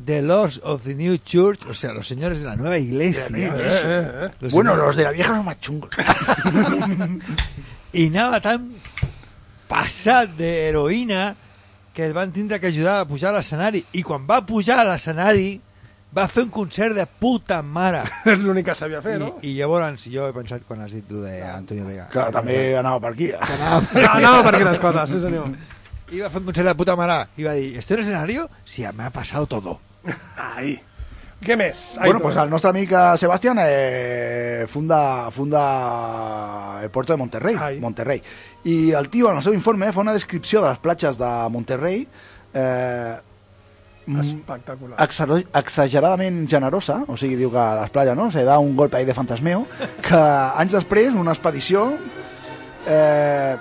Speaker 4: The Lords of the New Church, o sea, los señores de la nueva iglesia.
Speaker 10: eh,
Speaker 4: Los
Speaker 10: Bueno,
Speaker 4: señores-
Speaker 10: los de la vieja son más chungos.
Speaker 4: I anava tan passat d'heroïna que el van tindre que ajudar a pujar a l'escenari. I quan va pujar a l'escenari, va fer un concert de puta mare.
Speaker 9: És l'únic que sabia fer, no?
Speaker 4: I, I llavors jo he pensat quan has dit allò d'Antonio Vega.
Speaker 10: Que també anava per aquí. eh?
Speaker 9: No, no, per aquelles coses, sí senyor.
Speaker 4: Iba a hacer un concierto de puta mara. Iba a decir, ¿estoy en el escenario? Sí, me ha pasado todo.
Speaker 9: Ahí. Què més? Aitor?
Speaker 10: Bueno, pues al nostre amic eh, Sebastián eh, funda, funda el puerto de Monterrey.
Speaker 9: Ai.
Speaker 10: Monterrey. I el tio, en el seu informe, fa una descripció de les platges de Monterrey eh, mm,
Speaker 9: Espectacular.
Speaker 10: exagero- exageradament generosa, o sigui, diu que a les platges, no?, se da un golpe ahí de fantasmeo, que anys després, una expedició... Eh,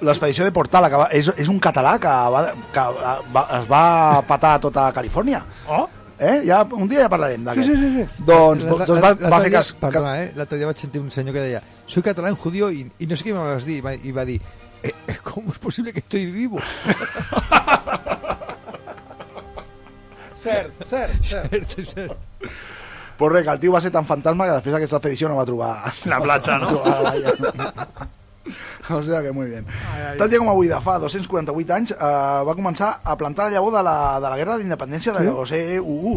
Speaker 10: L'expedició de Portal que va, és, és un català que, va, que va, es va patar a tota Califòrnia.
Speaker 9: Oh?
Speaker 10: Eh? Ja, un dia ja parlarem d'aquest.
Speaker 9: Sí, sí, sí, sí.
Speaker 10: Doncs, doncs va, va fer
Speaker 4: talla-
Speaker 10: cas...
Speaker 4: Perdona, eh? L'altre dia vaig sentir un senyor que deia soy catalán, judío y, y no sé qué me vas a decir. Y va, i va dir, eh, eh, ¿cómo es posible que estoy vivo?
Speaker 9: Cert, cert, cert.
Speaker 10: Pues res, que el tio va ser tan fantasma que després d'aquesta expedició no va trobar...
Speaker 9: La platja, no?
Speaker 10: no trobar la valla. O sigui que molt bé.
Speaker 9: ai.
Speaker 10: Tal dia com avui, de fa 248 anys, eh, va començar a plantar la llavor de la, de la guerra d'independència de los EUU.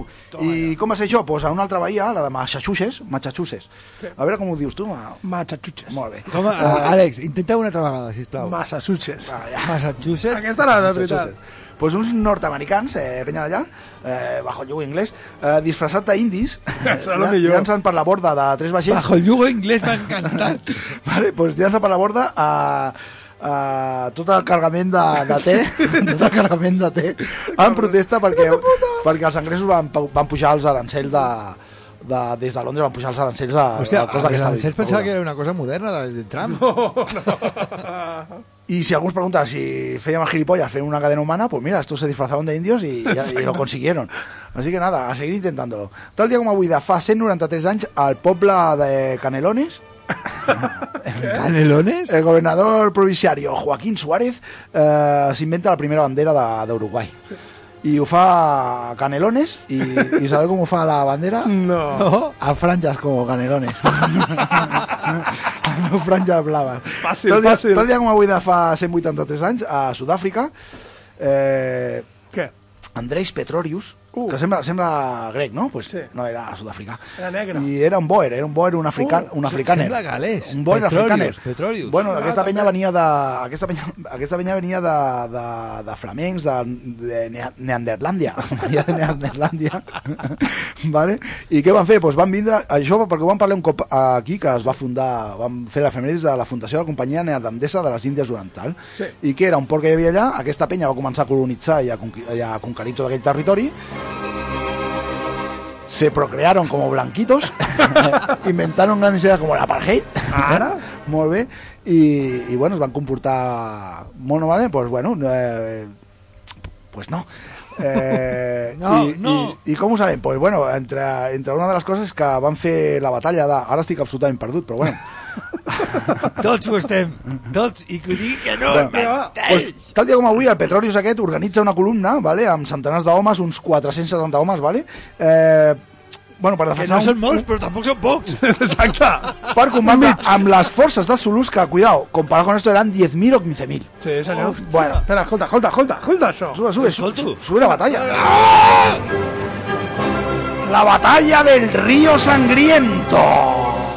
Speaker 10: I com va ser això? Pues a una altra bahia, la de Massachusetts. Massachusetts. A veure com ho dius tu. Ma...
Speaker 9: Massachusetts.
Speaker 10: Molt bé.
Speaker 4: Toma, eh, Àlex, intenta una altra vegada, sisplau.
Speaker 9: Massachusetts.
Speaker 4: Massachusetts.
Speaker 9: Aquesta era la veritat.
Speaker 10: Pues uns nord-americans, eh, penya d'allà, eh, bajo el llugo inglès, eh, disfressat d'indis,
Speaker 9: Serà lo millor.
Speaker 10: llancen per la borda de tres vaixells
Speaker 4: Bajo el yugo inglés m'ha encantat.
Speaker 10: vale, pues llança per la borda a, a tot el cargament de, de té, tot el cargament de té, en protesta perquè, perquè els anglesos van, pau- van pujar els arancels de, de, des de Londres van pujar els arancels a,
Speaker 4: O sea,
Speaker 10: al cost d'aquesta
Speaker 4: Sánchez pensava
Speaker 10: dictadura.
Speaker 4: que era una cosa moderna de, de Trump.
Speaker 10: Y si algunos preguntan si más gilipollas fue una cadena humana, pues mira, estos se disfrazaron de indios y, ya- y lo consiguieron. Así que nada, a seguir intentándolo. Tal día como avui, de fa 193 anys, al Pobla de Canelones,
Speaker 4: ¿Canelones?
Speaker 10: el gobernador provinciario Joaquín Suárez eh, s'inventa la primera bandera de- d'Uruguai. I ho fa a Canelones, i, i sabeu com ho fa la bandera?
Speaker 9: No.
Speaker 10: A franjas como Canelones. el meu franges blaves.
Speaker 9: Fàcil,
Speaker 10: tal dia,
Speaker 9: fàcil.
Speaker 10: Tal dia com avui de fa 183 anys, a Sud-àfrica, eh,
Speaker 9: Què?
Speaker 10: Andrés Petrorius, uh. que sembla, sembla grec, no? Pues sí. no, era sud-africà.
Speaker 9: Era negre.
Speaker 10: I era un boer, era un boer, un africà,
Speaker 4: Uh,
Speaker 10: un africàner.
Speaker 4: sembla galès.
Speaker 10: Un boer
Speaker 4: Petrorius,
Speaker 10: africàner.
Speaker 4: Petrorius.
Speaker 10: Bueno,
Speaker 4: Ah,
Speaker 10: aquesta
Speaker 4: també.
Speaker 10: penya venia de... Aquesta penya, aquesta penya venia de, de, de flamencs, de, de Nea- Neanderlàndia. Venia de Neanderlàndia. vale? I què van fer? Pues van vindre... Això perquè ho van parlar un cop aquí, que es va fundar... Van fer la efemèris de la fundació de la companyia neerlandesa de les Índies Oriental.
Speaker 9: Sí.
Speaker 10: I que era un port que hi havia allà, aquesta penya va començar a colonitzar i a, conqui- i a conquerir tot aquell territori, se procrearon como blanquitos, inventaron grandes ideas como la apartheid,
Speaker 9: Ara?
Speaker 10: molt bé, i, i bueno, es van comportar molt normalment, doncs bueno, eh, pues no. Eh,
Speaker 4: No,
Speaker 10: i,
Speaker 4: no.
Speaker 10: I, I com ho sabem? Pues bueno, entre, entre una de les coses que van fer la batalla de... Ara estic absolutament perdut, però bueno.
Speaker 4: Tots ho estem. Tots. I que ho digui que no.
Speaker 10: Bueno, pues, tal dia com avui, el Petrolius aquest organitza una columna, vale, amb centenars d'homes, uns 470 homes, vale, eh, bueno, per
Speaker 4: Que
Speaker 10: defensar...
Speaker 4: no
Speaker 10: un-
Speaker 4: són molts, però tampoc són pocs.
Speaker 9: Exacte.
Speaker 10: per combatre amb les forces de Solusca, cuidao, comparado con esto eran 10.000 o 15.000.
Speaker 9: Sí, senyor.
Speaker 10: Hòstia. Bueno.
Speaker 9: Espera, escolta, escolta, escolta, escolta això.
Speaker 10: Sube, sube, sube,
Speaker 4: Escolto.
Speaker 10: sube la batalla.
Speaker 4: Ah.
Speaker 10: La batalla del río sangriento.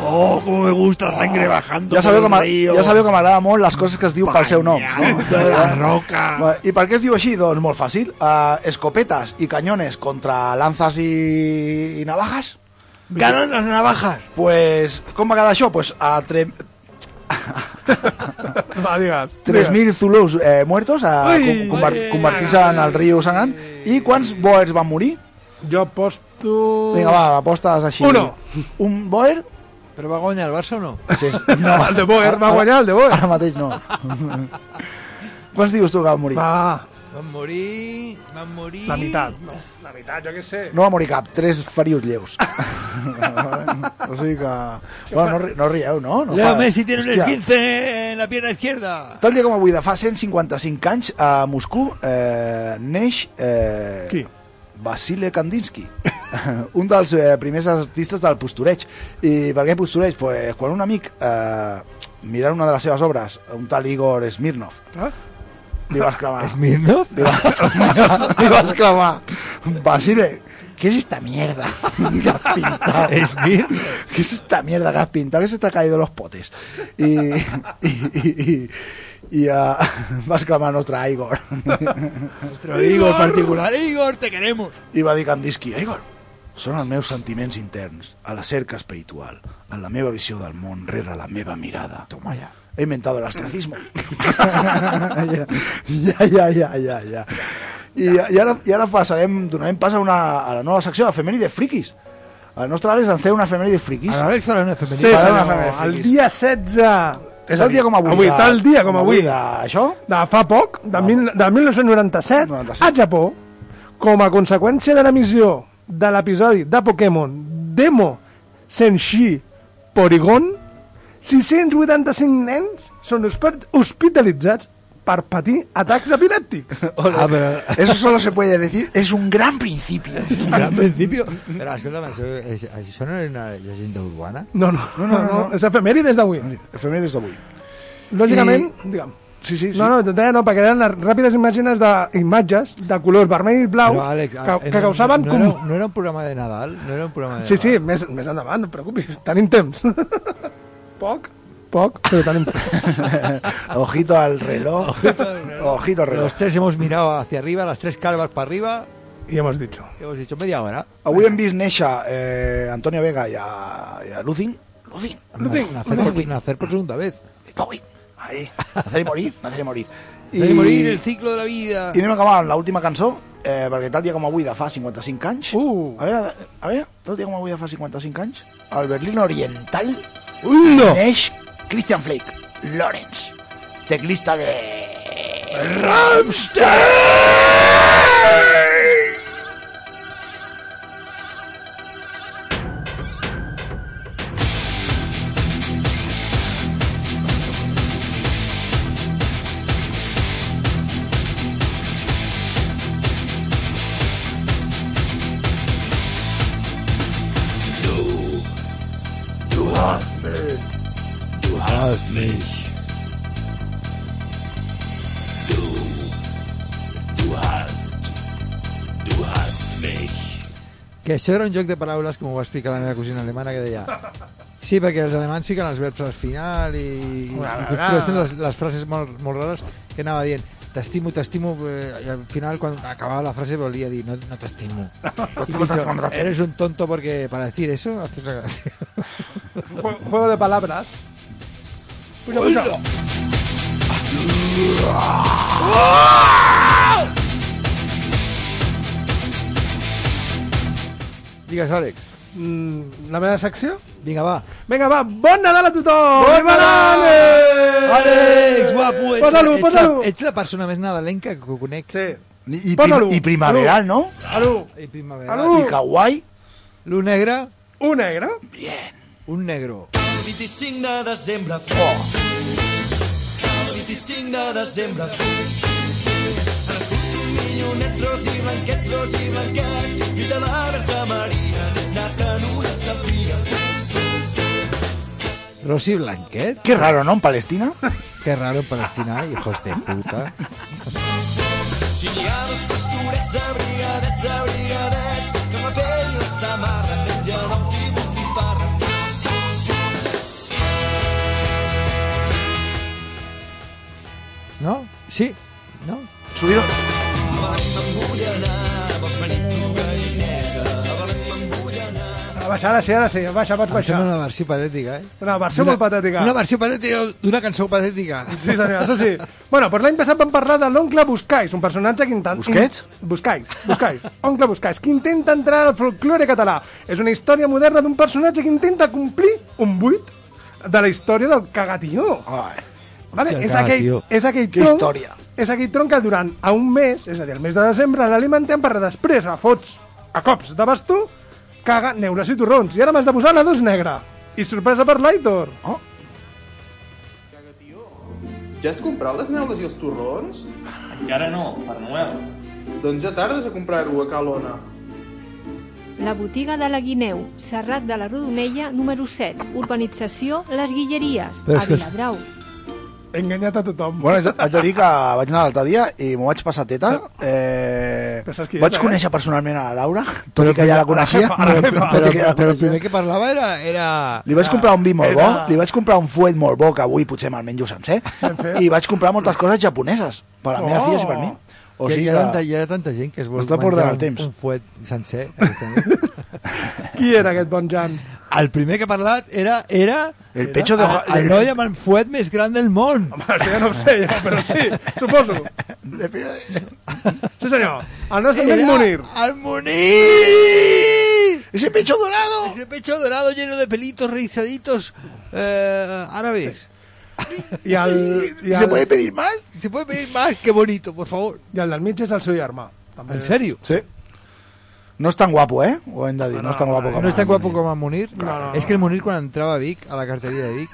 Speaker 4: Oh, como me gusta la sangre bajando
Speaker 10: Ja sabeu que
Speaker 4: por el
Speaker 10: m'a-
Speaker 4: río.
Speaker 10: ja sabeu que m'agrada molt les coses que es diu pel seu nom. No?
Speaker 4: Bañado en la roca.
Speaker 10: Va, I per què es diu així? Doncs molt fàcil. Uh, escopetes i canyones contra lanzas i, i navajas.
Speaker 4: Ganan las navajas.
Speaker 10: Pues, com va quedar això? Pues a tre...
Speaker 9: Va, digues.
Speaker 10: 3.000 zulus eh, muertos a
Speaker 9: Ui.
Speaker 10: com- conver- convertir-se en el riu Sangan. I quants boers van morir?
Speaker 9: Jo posto...
Speaker 10: Vinga, va, apostes així.
Speaker 9: Uno.
Speaker 10: Un boer?
Speaker 4: Però va guanyar el Barça o no?
Speaker 10: Sí.
Speaker 9: No, el de Boer, va
Speaker 10: Ara-
Speaker 9: guanyar el de Boer.
Speaker 10: Ara mateix no. Quants dius tu que van morir?
Speaker 9: Va, va,
Speaker 4: Van morir... Van morir...
Speaker 9: la meitat. No, la meitat, jo què sé.
Speaker 10: No va morir cap, tres ferius lleus. o sigui que... Bueno, no, ri- no rieu, no? no
Speaker 4: Leo
Speaker 10: fa-
Speaker 4: Messi tiene un
Speaker 10: Hòstia.
Speaker 4: esquince en la pierna izquierda.
Speaker 10: Tal dia com avui, de fa 155 anys, a Moscou eh, neix... Eh,
Speaker 9: Qui?
Speaker 10: Vasile Kandinsky, un dels eh, primers artistes del postureig. I per què postureig? Pues, quan un amic eh, mirant una de les seves obres, un tal Igor Smirnov,
Speaker 9: Eh?
Speaker 10: li va exclamar...
Speaker 4: ¿Smirnov?
Speaker 10: Li va, li va exclamar Basile, ¿qué es esta mierda que has pintado?
Speaker 4: ¿Smirnov?
Speaker 10: ¿Qué es esta mierda que has pintado? Que se te ha caído los potes. Y, y, y, y, ah, va exclamar nuestra Igor.
Speaker 4: Nuestro Igor particular. Igor, te queremos.
Speaker 10: I va dir Kandinsky, Igor, són els meus sentiments interns, a la cerca espiritual, en la meva visió del món, rere la meva mirada. Toma ja. He inventado el astracismo. ja, ja, ja, ja, ja. I, i, ara, I ara passarem, donarem pas a, una, a la nova secció, efemèride friquis. El nostre Àlex ens té una efemèride friquis.
Speaker 4: Ahora les farán una
Speaker 9: Sí,
Speaker 4: femenina.
Speaker 10: Para
Speaker 9: senyor,
Speaker 10: una família
Speaker 9: el
Speaker 10: feliç.
Speaker 9: dia 16...
Speaker 10: És el dia com avui.
Speaker 9: avui
Speaker 10: de-
Speaker 9: tal dia com avui.
Speaker 10: de- Això?
Speaker 9: de fa poc, de, mil, de 1997,
Speaker 10: 97.
Speaker 9: a Japó, com a conseqüència de l'emissió de l'episodi de Pokémon Demo Senshi Porygon, 685 nens són hospi- hospitalitzats per patir atacs epilèptics.
Speaker 4: Ah, pero...
Speaker 10: Eso solo se puede decir, es un gran principio.
Speaker 4: Es un gran principio. Pero, escúchame, ¿eso, es- ¿eso no es una leyenda urbana?
Speaker 9: No, no, no, no, no. és efemèrides d'avui.
Speaker 10: Efemèrides d'avui.
Speaker 9: Lògicament, I... diguem,
Speaker 10: Sí, sí, sí.
Speaker 9: No, no, et deia no, perquè eren les ràpides imatges de, imatges de colors vermells i blaus
Speaker 4: Pero, Alex,
Speaker 9: que,
Speaker 4: en-
Speaker 9: que causaven...
Speaker 4: eh, no,
Speaker 9: com...
Speaker 4: era, no era un programa de Nadal, no era un programa de
Speaker 9: Sí,
Speaker 4: Nadal.
Speaker 9: sí, més, més endavant, no et preocupis, tenim temps. Poc, poc, però tenim temps.
Speaker 10: Ojito al reloj. Ojito al reloj.
Speaker 4: Los tres hemos mirado hacia arriba, las tres calvas para arriba,
Speaker 9: I hemos dicho.
Speaker 4: y hemos dicho media hora.
Speaker 10: Avui hem vist néixer eh, Antonio Vega i a, i a Lucin. Lucin.
Speaker 9: Lucín,
Speaker 4: nacer, por, nacer por segunda vez.
Speaker 10: Tobin. Ahí. Nacer i morir. Nacer i morir.
Speaker 4: Y... Debe morir el ciclo de la vida.
Speaker 10: I anem a acabar amb l'última cançó, eh, perquè tal dia com avui de fa 55 anys...
Speaker 9: Uh.
Speaker 10: A veure, a veure, tal dia com avui de fa 55 anys, al Berlín Oriental
Speaker 4: ¡Uno!
Speaker 10: neix Christian Flake, Lorenz, teclista de...
Speaker 12: hast mich. Du, du hast, du hast mich.
Speaker 4: Que això era un joc de paraules que m'ho va explicar la meva cosina alemana, que deia... Sí, perquè els alemans fiquen els verbs al final i, i, i construeixen les, les frases molt, molt rares que anava dient t'estimo, t'estimo, eh, i al final quan acabava la frase volia dir no, no t'estimo. I pitjor, eres un tonto porque para decir eso haces la gracia.
Speaker 9: Jue- Juego de palabras. Puja, puja.
Speaker 4: Digues, Àlex.
Speaker 9: Mm, la meva secció?
Speaker 4: Vinga, va.
Speaker 9: Vinga, va. Bon Nadal a tothom!
Speaker 4: Bon
Speaker 9: Viva
Speaker 4: Nadal!
Speaker 9: l'Àlex!
Speaker 4: Àlex, guapo, ets,
Speaker 9: Posa-lo,
Speaker 4: ets, la,
Speaker 9: posa-lo!
Speaker 4: ets la persona més nadalenca que conec.
Speaker 9: Sí.
Speaker 10: I, i,
Speaker 9: Posa-lo.
Speaker 10: prim, i primaveral, no?
Speaker 9: Alú,
Speaker 4: I primavera.
Speaker 9: alú!
Speaker 10: I kawaii.
Speaker 4: L'un negre,
Speaker 9: Un negre?
Speaker 4: un negro.
Speaker 11: 25 de desembre.
Speaker 4: Oh.
Speaker 11: 25 de desembre. Nascut un millonet ros i blanquet, ros i blanquet, i de la Verge Maria n'és nat en una establia.
Speaker 4: Rosy Blanquet.
Speaker 10: Qué raro, ¿no? En Palestina.
Speaker 4: Qué raro en Palestina, hijos de puta.
Speaker 11: Si n'hi ha dos pastorets abrigadets, abrigadets, que amb la pell i la samarra mengen ous i botifarra.
Speaker 4: No? Sí? No?
Speaker 10: Subido.
Speaker 9: Ah, Baixa, ara sí, ara sí. Baixa, pots
Speaker 4: Em
Speaker 9: baixar.
Speaker 4: sembla una versió patètica, eh?
Speaker 9: Una versió molt patètica.
Speaker 4: Una versió patètica d'una cançó patètica.
Speaker 9: Sí, senyor, això sí. Bueno, doncs l'any passat vam parlar de l'oncle Buscais, un personatge que intenta...
Speaker 10: Busquets?
Speaker 9: Buscais, Buscais, oncle Buscais, que intenta entrar al folklore català. És una història moderna d'un personatge que intenta complir un buit de la història del cagatió.
Speaker 10: Ai.
Speaker 9: Vale?
Speaker 4: Hòstia, Ah, el
Speaker 9: És, aquell,
Speaker 4: cagatió.
Speaker 9: és aquell
Speaker 10: Que
Speaker 9: tronc...
Speaker 10: història.
Speaker 9: És aquell tronc que durant a un mes, és a dir, el mes de desembre, l'alimentem per després a fots, a cops de bastó, caga neules i torrons. I ara m'has de posar la dos negra. I sorpresa per l'Aitor.
Speaker 13: Ja has comprat les neules i els torrons?
Speaker 14: Encara no, per Noel.
Speaker 13: Doncs ja tardes a comprar-ho a Calona.
Speaker 15: La botiga de la Guineu, Serrat de la Rodonella, número 7, urbanització Les Guilleries,
Speaker 10: Però
Speaker 15: a
Speaker 10: és que-
Speaker 15: Viladrau.
Speaker 9: He enganyat a tothom.
Speaker 10: Bueno, haig de- haig de dir que vaig anar l'altre dia i m'ho vaig passar teta. Eh,
Speaker 9: Però saps qui és,
Speaker 10: vaig
Speaker 9: eh?
Speaker 10: conèixer personalment a la Laura, tot i que ja la coneixia.
Speaker 9: jefa, a la jefa.
Speaker 10: Tot
Speaker 4: Però,
Speaker 10: i que ja la
Speaker 4: però el
Speaker 10: coneixia.
Speaker 4: primer que parlava era... era...
Speaker 10: Li vaig comprar un vi molt bo,
Speaker 9: Era-
Speaker 10: li vaig comprar un fuet molt bo, que avui potser me'l menjo sencer, i vaig comprar moltes coses japoneses, per a la meva
Speaker 9: Oh!
Speaker 10: filla i per mi. O
Speaker 4: que
Speaker 10: sigui
Speaker 4: hi, ha tanta,
Speaker 10: que...
Speaker 4: hi ha tanta gent que es vol
Speaker 10: M'està
Speaker 4: menjar
Speaker 10: portant el
Speaker 4: un,
Speaker 10: temps.
Speaker 4: un fuet sencer. aquesta nit.
Speaker 9: Qui era aquest bon Jan?
Speaker 4: el primer que he parlat era... era
Speaker 10: El pecho de...
Speaker 4: el, el noi amb el fuet més gran del món.
Speaker 9: Home, això ja no ho sé, jo, però sí, suposo. Sí, senyor. El nostre
Speaker 10: Eh,
Speaker 9: amic
Speaker 10: ah.
Speaker 4: Era
Speaker 9: Munir.
Speaker 4: el Munir!
Speaker 10: Ese pecho dorado!
Speaker 4: Ese pecho dorado lleno de pelitos rizaditos eh, árabes.
Speaker 9: I el, i
Speaker 10: ¿Se
Speaker 9: el,
Speaker 10: puede pedir más?
Speaker 4: ¿Se puede pedir más? ¡Qué bonito, por favor!
Speaker 9: i el del mig és el seu germà. També.
Speaker 4: ¿En serio?
Speaker 10: Sí. No és tan guapo, eh? Ho hem de dir, Ah, no, és tan guapo com...
Speaker 4: No es tan
Speaker 10: el
Speaker 4: guapo
Speaker 10: Munir.
Speaker 4: com el Munir.
Speaker 9: no, no.
Speaker 4: És que el Munir, quan entrava a Vic, a la carteria de Vic,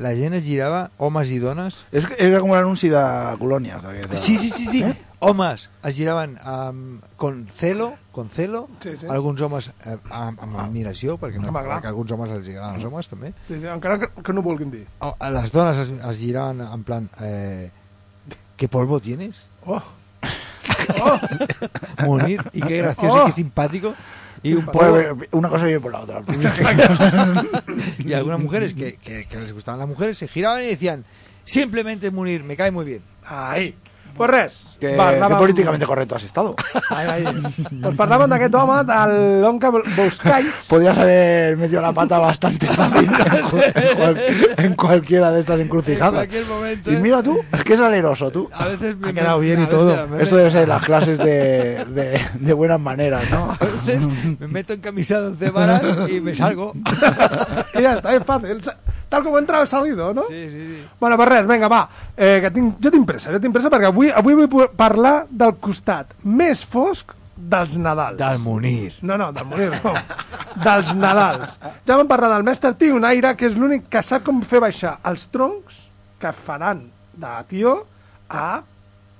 Speaker 4: la gent es girava, homes i dones.
Speaker 10: És, que era com un anunci de colònies. d'aquest.
Speaker 4: Sí, sí, sí,
Speaker 10: ¿Eh?
Speaker 4: sí. Homes es giraven amb, con celo, con celo,
Speaker 9: Sí, sí.
Speaker 4: alguns homes eh, amb, amb
Speaker 10: Ah.
Speaker 4: admiració, perquè, no,
Speaker 9: Home, clar.
Speaker 4: perquè alguns homes els agraden
Speaker 10: Mm.
Speaker 4: els homes, també.
Speaker 9: Sí, sí, encara que, que no ho vulguin dir.
Speaker 4: O, a les dones es, es giraven en plan... Eh, ¿Qué polvo tienes?
Speaker 9: Oh,
Speaker 4: Munir, y qué gracioso
Speaker 9: Oh.
Speaker 4: y qué simpático. Y un
Speaker 10: Bueno,
Speaker 4: polvo,
Speaker 10: bé, una cosa viene por la otra.
Speaker 4: y algunas
Speaker 9: mm,
Speaker 4: mujeres que, que- que les gustaban las mujeres se giraban y decían, simplemente Munir, me cae muy bien.
Speaker 9: ahí. Pues res.
Speaker 10: Que,
Speaker 9: parlàvem-
Speaker 10: que políticamente correcto has estado.
Speaker 9: Ai, ai. Doncs parlàvem d'aquest home, de l'onca Buscais.
Speaker 10: Podías haber metido la pata bastante fácil en, cual- en cual- en cualquiera de estas
Speaker 4: En
Speaker 10: encrucijadas.
Speaker 4: cualquier momento. eh.
Speaker 10: Y mira tú, es que es aleroso tú.
Speaker 4: A veces me
Speaker 9: Ha quedado
Speaker 4: me-
Speaker 9: bien
Speaker 4: a
Speaker 9: y
Speaker 4: veces-
Speaker 9: todo.
Speaker 4: a veces-
Speaker 10: Esto debe ser las clases de, de, de buenas maneras, ¿no?
Speaker 4: a veces me meto en camisa de once varas y me salgo.
Speaker 9: I ja està, és fàcil. Tal com entrava, he salido, no?
Speaker 4: Sí, sí, sí.
Speaker 9: Bueno, pues res, vinga, va. Eh, que tinc, jo tinc pressa, jo tinc pressa perquè avui, avui vull pu- parlar del costat més fosc dels Nadals.
Speaker 4: Del Munir.
Speaker 9: No, no, del Munir, no. dels Nadals. Ja vam parlar del mestre Tio Naira, que és l'únic que sap com fer baixar els troncs que faran de tio a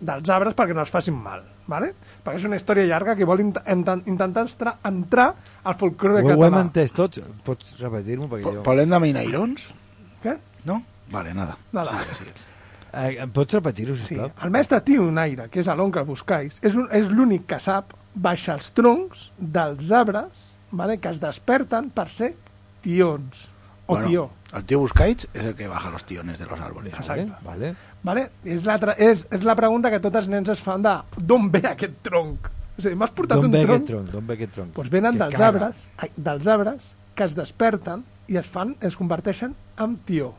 Speaker 9: dels arbres perquè no es facin mal. Vale? Perquè és una història llarga que vol int ent- intentar estra- entrar al folclore
Speaker 4: Ho, ho hem
Speaker 9: català.
Speaker 4: entès tots. Pots repetir-m'ho? Perquè jo...
Speaker 10: Polenda Mineirons,
Speaker 9: Què?
Speaker 10: ¿no? Vale, nada.
Speaker 9: Nada.
Speaker 10: Sí, sí.
Speaker 4: Eh, pots repetir-ho, sisplau?
Speaker 9: El mestre Tionaire, que és l'oncle que buscais, és, un- és l'únic que sap baixar els troncs dels arbres vale, que es desperten per ser tions o bueno. tió.
Speaker 10: El tío Buscaits es el que baja los tiones de los árboles.
Speaker 9: Exacte.
Speaker 4: ¿Eh? Vale.
Speaker 9: Vale? És, la tra- és, és la pregunta que tots els nens es fan de d'on ve aquest tronc? És a dir, m'has portat
Speaker 4: D'on
Speaker 9: un
Speaker 4: ve aquest
Speaker 9: tronc?
Speaker 4: tronc? D'on ve aquest
Speaker 10: Pues
Speaker 4: tronc?
Speaker 9: Doncs venen
Speaker 4: Que
Speaker 9: dels
Speaker 4: caga.
Speaker 9: arbres, a- dels arbres que es desperten i es fan, es converteixen en tió.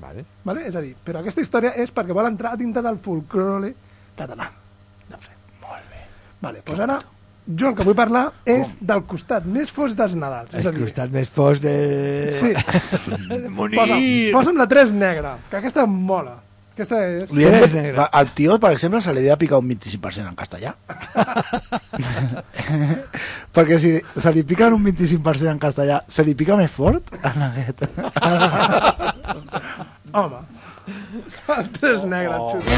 Speaker 4: Vale.
Speaker 9: Vale? És a dir, però aquesta història és perquè vol entrar dintre del folclore català. No sé, molt bé. Vale, doncs ara, jo el que vull parlar és del costat més fosc dels Nadals. És a
Speaker 4: El
Speaker 9: dir,
Speaker 4: costat més fosc de...
Speaker 9: Sí. posa'm, posa'm la 3 negra, que aquesta em mola. Aquesta és...
Speaker 10: Li hem de- Al tío, por ejemplo, se le había picado un 25% en castellà. Porque si se le pican un 25% en castellà, se le pica més fort?
Speaker 9: Home, el
Speaker 10: Oh.
Speaker 9: 3 negre, xuta.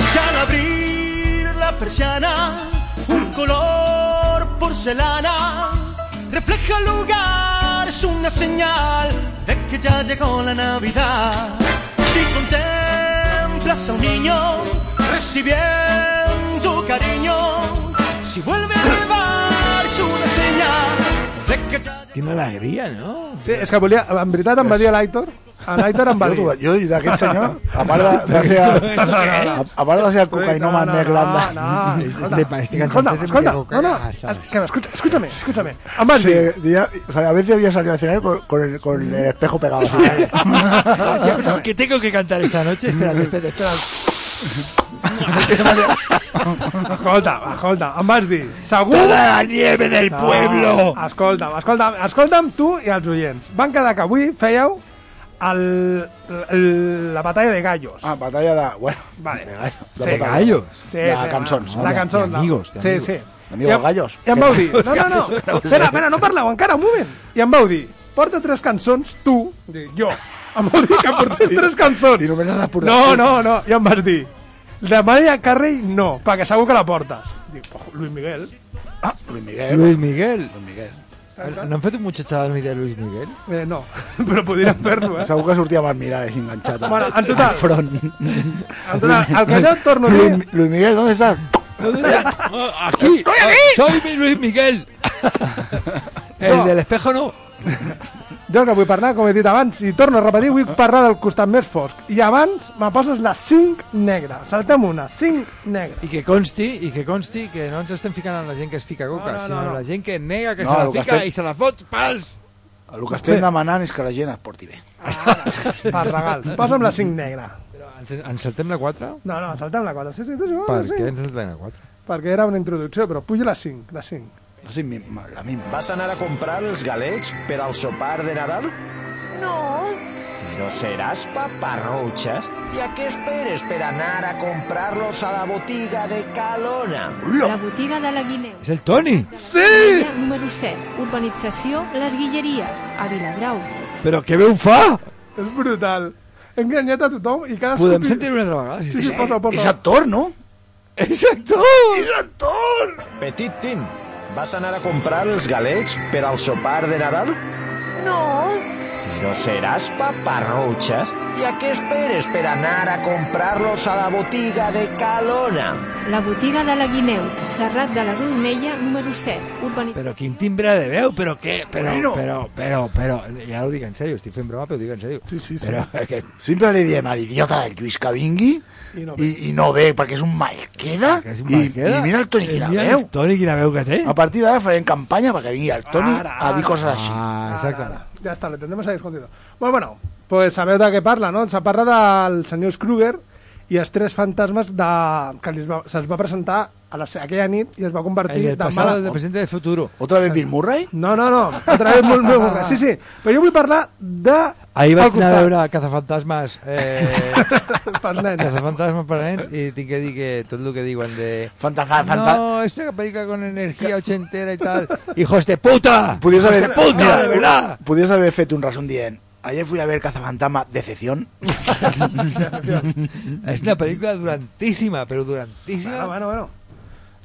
Speaker 12: Y al abrir la persiana, un color porcelana refleja el lugar, es una señal de que ya llegó la Navidad. Si contemplas a un niño recibiendo cariño, si vuelve a llevar, es una señal de que ya
Speaker 4: Quina alegria, no?
Speaker 9: Sí, és que volia... En veritat em va dir l'Aitor, l'Aitor em va dir...
Speaker 10: Jo, jo i d'aquest senyor, a part de, de ser,
Speaker 9: No, no,
Speaker 10: a,
Speaker 9: no.
Speaker 10: a part de ser el cocainòman
Speaker 9: No, Este, no,
Speaker 10: més gran de...
Speaker 9: no, no, escolta, escolta,
Speaker 10: escolta,
Speaker 9: escolta, no, no, es- que escucha- escúchame, escúchame. Además,
Speaker 10: Sí, diría- o sea, a veces había salido al escenario con, con el, con el espejo pegado. así.
Speaker 4: ¿Qué tengo que cantar esta noche? Espérate, espérate, espérate.
Speaker 9: Escolta, escolta, em vas dir, segur...
Speaker 4: Toda la nieve del pueblo.
Speaker 9: Escolta'm, escolta'm, escolta'm tu i els oients. Van quedar que avui fèieu el, el- la batalla de gallos.
Speaker 10: Ah, batalla de... Bueno,
Speaker 9: vale.
Speaker 10: de gallos.
Speaker 9: Sí. Sí,
Speaker 10: de
Speaker 9: sí,
Speaker 10: cançons.
Speaker 9: la- la cançó, la- sí, sí.
Speaker 10: Amigos
Speaker 9: I em-
Speaker 10: gallos.
Speaker 9: I em vau dir, no, no, no, espera, espera, no parleu encara, un moment. I em vau dir, porta tres cançons, tu, dic, jo, em vau dir que portés tres cançons. I
Speaker 10: només les portat
Speaker 9: No,
Speaker 10: tu.
Speaker 9: no, no, i em vas dir, de Mariah Carey no, perquè segur que la portes. Dic, ojo, Luis Miguel. Ah,
Speaker 10: Luis
Speaker 4: Luis Miguel.
Speaker 10: Luis Miguel.
Speaker 4: ¿No han hecho un muchachada ni de Luis Miguel?
Speaker 9: Eh, no, però podríem fer-lo, eh?
Speaker 10: Segur que sortia amb els miralles enganxats.
Speaker 9: Bueno, en total-
Speaker 10: Al front.
Speaker 9: En total, el que jo et torno a dir-
Speaker 10: Luis, Luis Miguel, ¿dónde estás?
Speaker 4: ¡Aquí! ¡Soy mi Luis Miguel! El del espejo no.
Speaker 9: Jo el que vull parlar, com he dit abans, i torno a repetir, vull parlar del costat més fosc. I abans me poses la 5 negra. Saltem una, 5 negra.
Speaker 4: I que consti, i que consti que no ens estem ficant en la gent que es fica coca,
Speaker 9: No, no,
Speaker 4: sinó
Speaker 9: no,
Speaker 4: en
Speaker 9: no.
Speaker 4: la gent que nega que
Speaker 10: No,
Speaker 4: se la
Speaker 10: el que
Speaker 4: fica
Speaker 10: estem-
Speaker 4: i se la fot pals.
Speaker 10: El que estem demanant és que la gent es porti bé.
Speaker 9: Per regal. Posa'm la 5 negra.
Speaker 4: Ens, ens saltem la 4?
Speaker 9: No, no, saltem la 4. Sí, sí, t'has jugat
Speaker 4: Per
Speaker 9: la
Speaker 4: què
Speaker 9: cinc.
Speaker 4: ens saltem la 4?
Speaker 9: Perquè era una introducció, però puja la 5, la 5.
Speaker 10: No sé, mi- ma- la misma.
Speaker 16: Vas anar a comprar els galets per al sopar de Nadal?
Speaker 12: No,
Speaker 16: No seràs paparrutxes?
Speaker 12: ¿y a qué esperes para anar a comprarlos a la botiga de Calona?
Speaker 15: La botiga de la Guineu.
Speaker 4: És el Toni!
Speaker 15: Sí! Número 7. Urbanització Les Guilleries, a Viladrau.
Speaker 4: Però què veu fa?
Speaker 9: És brutal. He enganyat a tothom i cadascú...
Speaker 4: Podem sentir una altra vegada?
Speaker 9: Sí, sí, posa, posa.
Speaker 10: És actor, no?
Speaker 4: És actor!
Speaker 10: És actor!
Speaker 16: Petit Tim, vas anar a comprar els galets per al sopar de Nadal?
Speaker 12: No,
Speaker 16: No seràs paparrutxes?
Speaker 12: ¿y a qué esperes para anar a comprarlos a la botiga de Calona?
Speaker 15: La botiga de la Guineu, Serrat de la Rodonella, número 7. Urbanització...
Speaker 4: Però quin timbre de veu, però què? Però,
Speaker 15: Bueno.
Speaker 4: però, però, però, ja ho dic en sèrio, estic fent broma, però ho dic en sèrio. Sí, sí, sí. Però, que...
Speaker 10: Sempre li diem a l'idiota del Lluís que vingui
Speaker 9: i no,
Speaker 10: i, no ve, perquè és un malqueda.
Speaker 4: és un
Speaker 10: I-
Speaker 4: malqueda.
Speaker 10: I, mira el Toni
Speaker 4: Eh,
Speaker 10: quina
Speaker 4: mira el
Speaker 10: veu.
Speaker 4: Toni quina veu que té.
Speaker 10: A partir d'ara farem campanya perquè vingui el Toni a dir coses així.
Speaker 4: Ah, exactament.
Speaker 9: Ya está, lo tendremos ahí escondido. Bueno, bueno, pues sabeu de què parla, no? Se parla del senyor Kruger i els tres fantasmes de... que li es va... se'ls va presentar a la... aquella nit i es va convertir...
Speaker 4: El del
Speaker 9: de
Speaker 4: pasado,
Speaker 9: mala-
Speaker 4: el del presente, del futuro.
Speaker 10: ¿Otra vez Bill Murray?
Speaker 9: No, no, no, otra vez Bill Murray, sí, sí. Però jo vull parlar de...
Speaker 4: Ahir
Speaker 9: al
Speaker 4: vaig anar a
Speaker 9: costat.
Speaker 4: veure Cazafantasmes eh,
Speaker 9: Pels nens.
Speaker 4: Cazafantasmes per nens i tinc que dir que tot el que diuen de...
Speaker 10: Fantafa,
Speaker 4: No, es una película con energía ochentera y tal. ¡Hijos de puta!
Speaker 10: Pudies
Speaker 4: ¡Hijos
Speaker 10: haver,
Speaker 4: de puta, de verdad!
Speaker 10: Pudies haver fet un resum dient Ayer fui a ver Cazafantama, decepción.
Speaker 4: Es una película durantísima, pero durantísima.
Speaker 9: Ah, Bueno, bueno, bueno.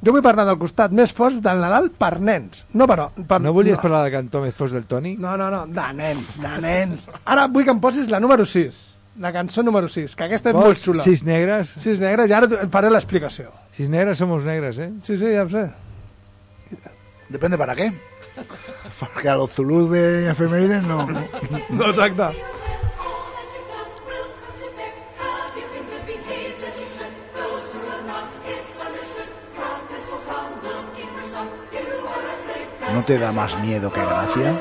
Speaker 9: Jo vull parlar del costat més fort del Nadal per nens. No, però... Per,
Speaker 4: No volies parlar del cantó més fos del Toni?
Speaker 9: No, no, no, de nens, de nens. Ara vull que em posis la número 6, la cançó número 6, que aquesta és
Speaker 4: Vols
Speaker 9: molt xula.
Speaker 4: sis negres?
Speaker 9: Sis negres, i ara tu- et faré l'explicació.
Speaker 4: Sis negres somos negres, eh?
Speaker 9: Sí, sí, ja ho sé.
Speaker 10: Depende para qué. Porque a los zulus de efemérides no.
Speaker 9: No, exacte.
Speaker 10: ¿No te da más miedo que gracia?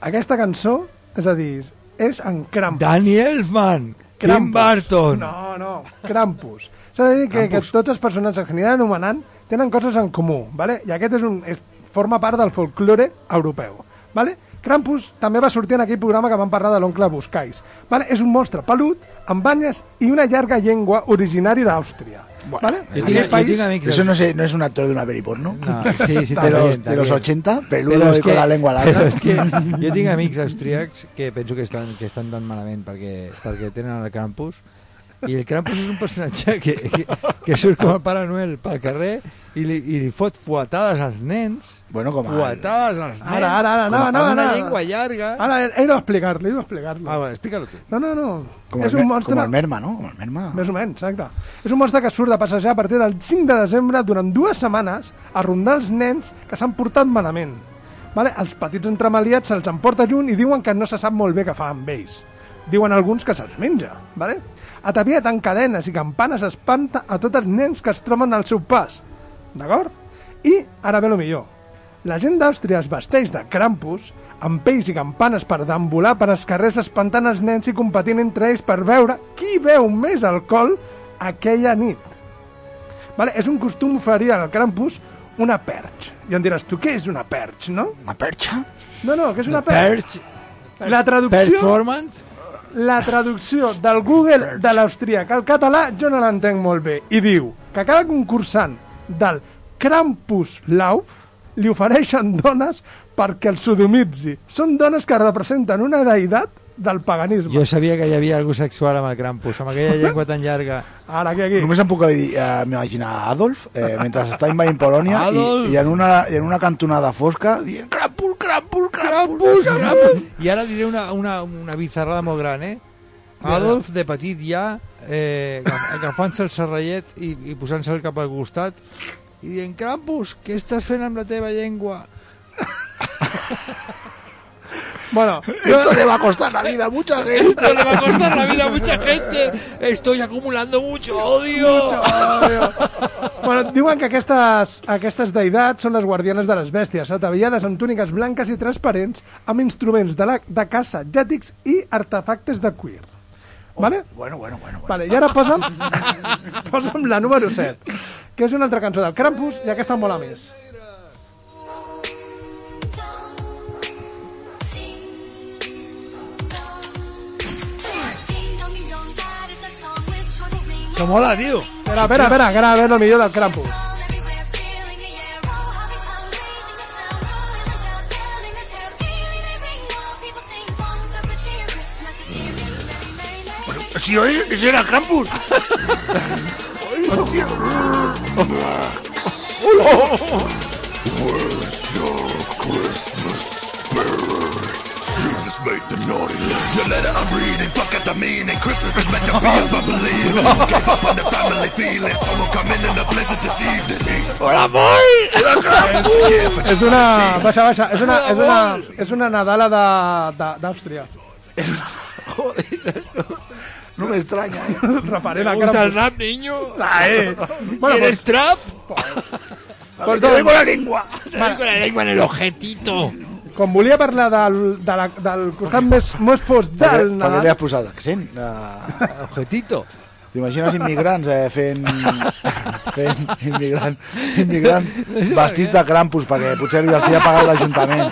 Speaker 9: Aquesta cançó, és a dir, és en Krampus.
Speaker 4: Danny Elfman! Tim
Speaker 9: Krampus.
Speaker 4: Burton!
Speaker 9: No, no, Krampus. S'ha de dir que, que tots els personatges que aniran anomenant tenen coses en comú, vale? i aquest és un, és, forma part del folklore europeu. Vale? Krampus també va sortir en aquell programa que vam parlar de l'oncle Buscais. Vale? És un monstre pelut, amb banyes i una llarga llengua originari d'Àustria. Vale?
Speaker 10: Yo
Speaker 9: Aquell país-
Speaker 10: Eso no, sé, no es un actor de una peli porno.
Speaker 4: No, sí, sí,
Speaker 10: de, los,
Speaker 4: también,
Speaker 10: de los
Speaker 4: también.
Speaker 10: 80,
Speaker 4: Però
Speaker 10: peludo
Speaker 4: és
Speaker 10: y con la lengua
Speaker 4: Però
Speaker 10: larga.
Speaker 4: és que jo tinc amics austríacs que penso que estan, que estan tan malament perquè, perquè tenen el Krampus i el Krampus és un personatge que, que, que surt com a Pare Noel pel carrer i li, i li fot fuetades als nens
Speaker 10: bueno, com
Speaker 4: fuetades als nens
Speaker 9: Ara, ara, ara,
Speaker 4: com
Speaker 9: no,
Speaker 4: a-
Speaker 9: no,
Speaker 4: amb una
Speaker 9: no.
Speaker 4: llengua llarga
Speaker 9: Ara, he de explicar-li, he d'explicar-li.
Speaker 4: ah, bueno, explica-lo tu
Speaker 9: No, no, no.
Speaker 10: Com
Speaker 9: és
Speaker 10: el
Speaker 9: un
Speaker 10: mer-
Speaker 9: monstre...
Speaker 10: com el merma, no? Com el merma.
Speaker 9: Més o menys, exacte. És un monstre que surt de passejar a partir del 5 de desembre durant dues setmanes a rondar els nens que s'han portat malament. Vale? Els petits entremaliats se'ls emporta lluny i diuen que no se sap molt bé què fa amb ells. Diuen alguns que se'ls menja, vale? Ataviat en cadenes i campanes espanta a tots els nens que es troben al seu pas. D'acord? I ara ve lo millor. La gent d'Àustria es vesteix de Krampus, amb pells i campanes per deambular per als carrers espantant els nens i competint entre ells per veure qui veu més alcohol aquella nit. Vale? És un costum oferir al Krampus una perx. I em diràs, tu què és una perx, no?
Speaker 10: Una perxa?
Speaker 9: No, no, què és una perx?
Speaker 4: Perch,
Speaker 9: La traducció...
Speaker 4: performance
Speaker 9: La traducció del Google de l'austríac al català jo no l'entenc molt bé i diu que cada concursant del Krampuslauf li ofereixen dones perquè el sodomitzi. Són dones que representen una deïtat del paganisme.
Speaker 4: jo sabia que hi havia algú sexual amb el Krampus amb aquella llengua tan llarga
Speaker 9: Ara, aquí, aquí.
Speaker 10: Només em puc dir, eh, m'imaginar Adolf, eh, mentre està invadint Polònia i,
Speaker 4: Adolf!
Speaker 10: i, en una, i en una cantonada fosca dient Krampus, Krampus, Krampus,
Speaker 4: Krampus,
Speaker 10: Krampus.
Speaker 4: Krampus. I ara diré una, una, una bizarrada molt gran, eh? Adolf, de petit ja, eh, agaf- agafant-se el serrallet i, i posant-se el cap al costat i dient, Krampus, què estàs fent amb la teva llengua?
Speaker 9: Bueno,
Speaker 10: Esto le va a costar la vida a mucha gente.
Speaker 4: Esto le va a costar la vida a mucha gente. Estoy acumulando mucho odio.
Speaker 9: bueno, diuen que aquestes, aquestes deïdats són les guardianes de les bèsties, ataviades amb túniques blanques i transparents, amb instruments de, la, de caça, llàtics i artefactes de cuir. Vale?
Speaker 10: Bueno, bueno, bueno.
Speaker 9: Vale, I ara posa'm, posa'm la número 7, que és una altra cançó del Krampus i aquesta em mola més.
Speaker 4: Que mola, tio.
Speaker 9: Espera, espera, espera, que ara ve el millor del Krampus.
Speaker 10: Si hoy ese era Krampus. Hostia.
Speaker 9: És una... Baixa, baixa, és una, és una, és una Nadala de- de- d'Àustria.
Speaker 10: No eh? me extraña.
Speaker 9: Reparé la Krampus.
Speaker 4: rap, niño?
Speaker 9: Ah, eh. Bueno, pues,
Speaker 4: trap?
Speaker 9: pues,
Speaker 10: Te
Speaker 9: doncs,
Speaker 10: vengo la lengua.
Speaker 4: Con la lengua en el ojetito.
Speaker 9: Com volia parlar del, de la, del costat més, més fos del
Speaker 10: Per què li
Speaker 9: Nadal...
Speaker 10: has posat accent? Uh,
Speaker 4: Ojetito.
Speaker 10: T'imagines immigrants eh, fent...
Speaker 16: fent immigrant, immigrants vestits de Krampus, perquè potser els hi ha pagat l'Ajuntament,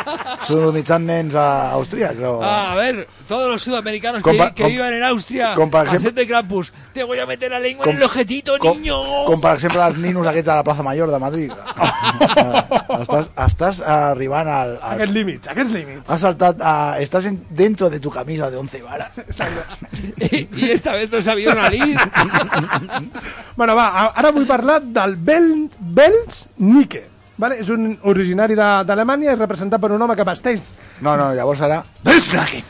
Speaker 16: sodomitzant nens a Àustria, creo.
Speaker 10: Ah, a ver, todos los sudamericanos
Speaker 16: Con
Speaker 10: que,
Speaker 16: pa-
Speaker 10: que
Speaker 16: con-
Speaker 10: vivan en Austria,
Speaker 16: con pa-
Speaker 10: haced de Krampus. Te voy a meter la lengua en el ojetito,
Speaker 16: com,
Speaker 10: niño.
Speaker 16: com per exemple els ninos aquests a la plaça Major de Madrid. Eh, estàs, estàs arribant al... al...
Speaker 9: Aquests límits, aquests límits.
Speaker 16: Has saltat a... Estàs en, dentro de tu camisa de 11 varas.
Speaker 10: Y esta vez no sabía una lid.
Speaker 9: Bueno, va, a- ara vull parlar del Bel Belz Nike. Vale? És un originari de- d'Alemanya i representat per un home que vesteix...
Speaker 16: No, no, llavors ara...
Speaker 9: Belznaken!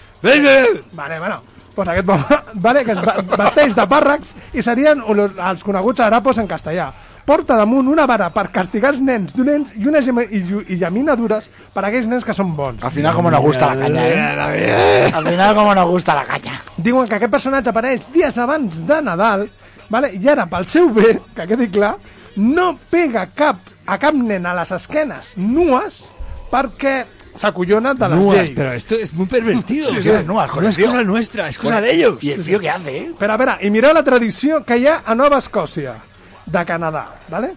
Speaker 9: Vale, bueno. Pues aquest home, vale, que es va- vesteix de pàrrecs i serien un- els coneguts harapos en castellà. Porta damunt una vara per castigar els nens dolents i una gema, i, llu- i llamina dures per a aquells nens que són bons.
Speaker 16: Al final com no gusta la canya, eh? Al final com no gusta la canya.
Speaker 9: Diuen que aquest personatge apareix dies abans de Nadal, vale? i ara, pel seu bé, que quedi clar, no pega cap, a cap nen a les esquenes nues perquè s'acollona de les
Speaker 10: Nuas,
Speaker 9: lleis.
Speaker 10: pero esto es muy pervertido.
Speaker 9: Sí,
Speaker 10: o
Speaker 9: sí,
Speaker 10: sea,
Speaker 9: nuas, con
Speaker 10: no
Speaker 9: el
Speaker 10: es
Speaker 9: frío.
Speaker 10: cosa nuestra, es cosa de ellos.
Speaker 16: que hace, eh?
Speaker 9: Espera, espera, i mireu la tradició que hi ha a Nova Escòcia, de Canadà, vale?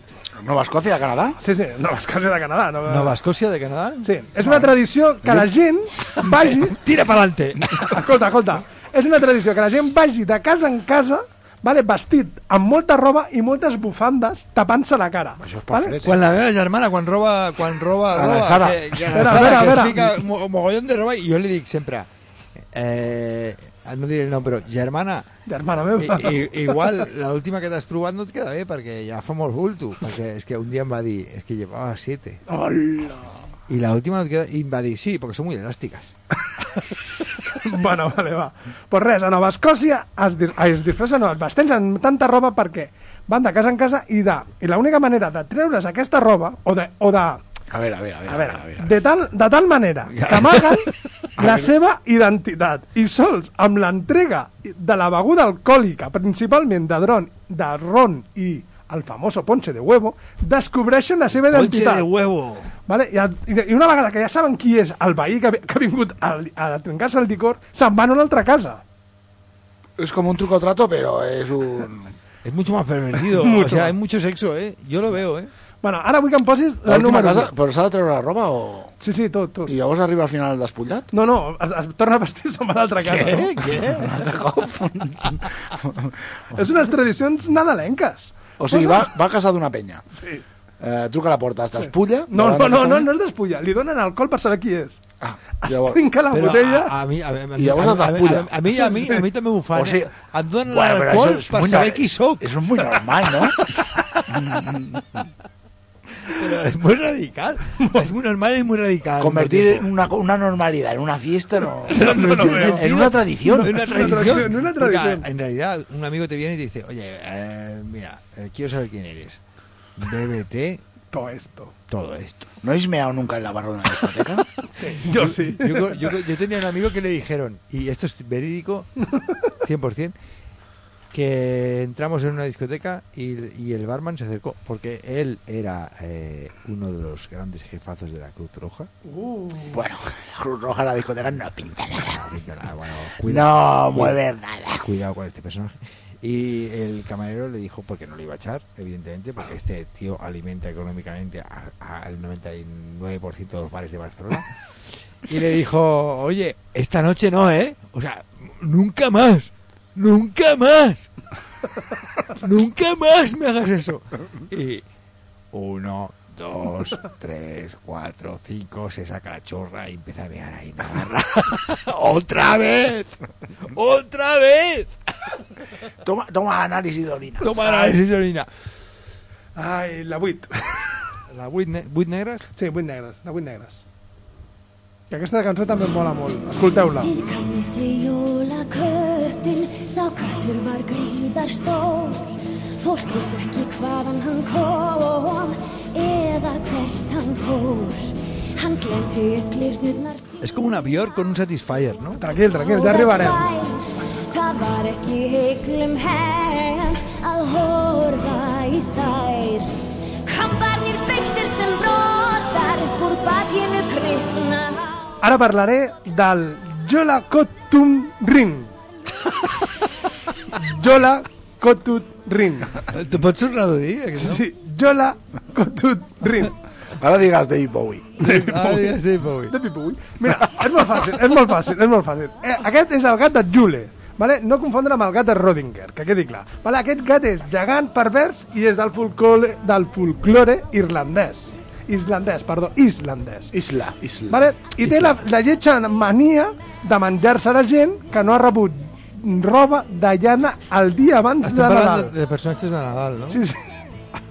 Speaker 16: Nova Escòcia de Canadà?
Speaker 9: Sí, sí, Nova Escòcia de Canadà. Nova...
Speaker 10: Nova Escòcia de Canadà?
Speaker 9: Sí, és una tradició que la gent vagi...
Speaker 10: Tira pa'lante!
Speaker 9: Escolta, escolta. És una tradició que la gent vagi de casa en casa vale, vestit amb molta roba i moltes bufandes tapant-se la cara. Això és vale?
Speaker 10: Quan la meva germana, quan roba, quan roba,
Speaker 9: Pues A la
Speaker 10: roba,
Speaker 9: Sara.
Speaker 10: que, que, a la
Speaker 9: Espera,
Speaker 10: Sara,
Speaker 9: espera,
Speaker 10: que
Speaker 9: espera.
Speaker 10: es pica mo- mogollón de roba, i jo li dic sempre, eh, no diré el nom, però germana,
Speaker 9: germana meva.
Speaker 10: I, i, igual l'última que t'has provat no et queda bé, perquè ja fa molt bulto, perquè és que un dia em va dir, és que llevava siete.
Speaker 9: Hola.
Speaker 10: I l'última no et queda... I em va dir, sí, perquè són molt elàstiques.
Speaker 9: bueno, vale, va. Pues res, a Nova Escòcia es, dir, ai, es disfressen, no, es vesteix amb tanta roba perquè van de casa en casa i de... I l'única manera de treure's aquesta roba o de... O de
Speaker 16: A veure, a veure, a veure. A veure, a veure.
Speaker 9: de tal, de tal manera que amaguen la seva identitat i sols amb l'entrega de la beguda alcohòlica, principalment de dron, de ron i el famoso ponche de huevo, descobreixen la seva
Speaker 10: Ponche
Speaker 9: identitat.
Speaker 10: de huevo.
Speaker 9: Vale? I, el- I una vegada que ja saben qui és el veí que, ve- que ha vingut a, li- a trencar-se el licor, se'n van a una altra casa.
Speaker 16: És com un trucotrato, però és un...
Speaker 10: Es mucho más pervertido.
Speaker 9: Mucho
Speaker 10: o sea,
Speaker 9: más.
Speaker 10: hay mucho sexo, ¿eh? Yo lo veo, ¿eh?
Speaker 9: Bueno, ara vull que em posis
Speaker 16: La
Speaker 9: la,
Speaker 16: última
Speaker 9: número
Speaker 16: casa,
Speaker 9: 1.
Speaker 16: però s'ha de treure la roba o...
Speaker 9: Sí, sí, tot, tot.
Speaker 16: I llavors arriba al final despullat?
Speaker 9: No, no, es, es torna a vestir se'n va a l'altra casa. Eh, No?
Speaker 16: Un altre cop?
Speaker 9: És unes tradicions nadalenques.
Speaker 16: O sigui,
Speaker 9: Pues
Speaker 16: va, va a casa d'una penya.
Speaker 9: Sí.
Speaker 16: Eh, truca a la porta, es despulla...
Speaker 9: No, no,
Speaker 16: davant
Speaker 9: no,
Speaker 16: d'aquesta
Speaker 9: no,
Speaker 16: nena,
Speaker 9: no es despulla. Li donen alcohol per saber qui és. Ah, es
Speaker 16: llavors-
Speaker 9: trinca la
Speaker 16: Però
Speaker 9: botella...
Speaker 10: A, a mi, a, mi- a, mi-
Speaker 16: I llavors
Speaker 10: a,
Speaker 16: et
Speaker 10: mi- a, mi-
Speaker 16: despulla.
Speaker 10: a, mi, a, mi, a mi també m'ho fan.
Speaker 16: O sigui-
Speaker 10: eh? Em donen
Speaker 16: Bueno, però això
Speaker 10: l'alcohol
Speaker 16: és
Speaker 10: per
Speaker 16: molt
Speaker 10: saber
Speaker 16: normal.
Speaker 10: qui sóc.
Speaker 16: És molt normal, no?
Speaker 10: Però és molt radical. és molt normal i molt radical.
Speaker 16: Convertir en una, una normalidad en una fiesta no,
Speaker 10: No, no, no,
Speaker 16: en, en una tradición.
Speaker 10: En una tradición.
Speaker 9: en una
Speaker 10: Porque,
Speaker 9: tradición.
Speaker 10: en realidad, un amigo te viene y te dice, oye, eh, mira, eh, quiero saber quién eres. Bébete
Speaker 9: Todo esto.
Speaker 10: todo esto.
Speaker 16: ¿No habéis meado nunca en la barra de una discoteca?
Speaker 9: Yo sí.
Speaker 10: Yo, co- yo co- yo tenía un amigo que le dijeron, y esto es verídico, 100%, que entramos en una discoteca y, y el barman se acercó, porque él era eh, uno de los grandes jefazos de la Cruz Roja.
Speaker 9: Uh.
Speaker 16: Bueno, la Cruz Roja en la discoteca no pinta nada.
Speaker 10: Ah, bueno,
Speaker 16: no mueve nada.
Speaker 10: Cuidado con este personaje. Y el camarero le dijo, porque no le iba a echar, evidentemente, porque este tío alimenta económicamente a- a- al 99% de los bares de Barcelona. Y le dijo, oye, esta noche no, ¿eh? O sea, nunca más, nunca más, nunca más me hagas eso. Y uno, dos, tres, cuatro, cinco, se saca la chorra y empieza a mear ahí en la barra. ¡Otra vez! ¡Otra vez!
Speaker 16: Toma, toma análisis de orina.
Speaker 10: Toma la decisionina.
Speaker 9: Ai, la 8.
Speaker 10: La vuit, ne vuit negres?
Speaker 9: Sí, 8 negres, la 8 negres. Que aquesta cançó també em mola molt. Escolteu-la.
Speaker 4: Þín kannist í jólaköttin, sá köttur var gríðarstór. Fólk vissi ekki hvaðan hann kom eða hvert hann fór. Hann glemti glirnurnar sín.
Speaker 10: Es como una Björk con un Satisfyer, ¿no?
Speaker 9: Tranquil, tranquil, ja arribarem.
Speaker 4: Það var ekki heiklum hend að horfa í þær. Kambarnir beittir sem brotar upp úr bakinu gripna.
Speaker 9: Ara parlaré del Jola Kotum Ring. Jola Kotum Rin.
Speaker 10: Tu pots tornar-ho a dir?
Speaker 9: Sí, sí. Yola Cotut Rin.
Speaker 16: Ara digues David Bowie.
Speaker 9: David
Speaker 10: Ara digues David Bowie.
Speaker 9: David Bowie. Mira, és molt fàcil, és molt fàcil, és molt fàcil. Eh, aquest és el gat de Jule. Vale? No confondre amb el gat de Rodinger, que quedi clar. Vale? Aquest gat és gegant, pervers i és del folklore, del folklore irlandès. Islandès, perdó, islandès.
Speaker 16: Isla, isla.
Speaker 9: Vale? I té la, la lletja mania de menjar-se la gent que no ha rebut roba de llana el dia abans
Speaker 10: Estem
Speaker 9: de
Speaker 10: parlant
Speaker 9: Nadal.
Speaker 10: de, de personatges de Nadal, no?
Speaker 9: Sí, sí.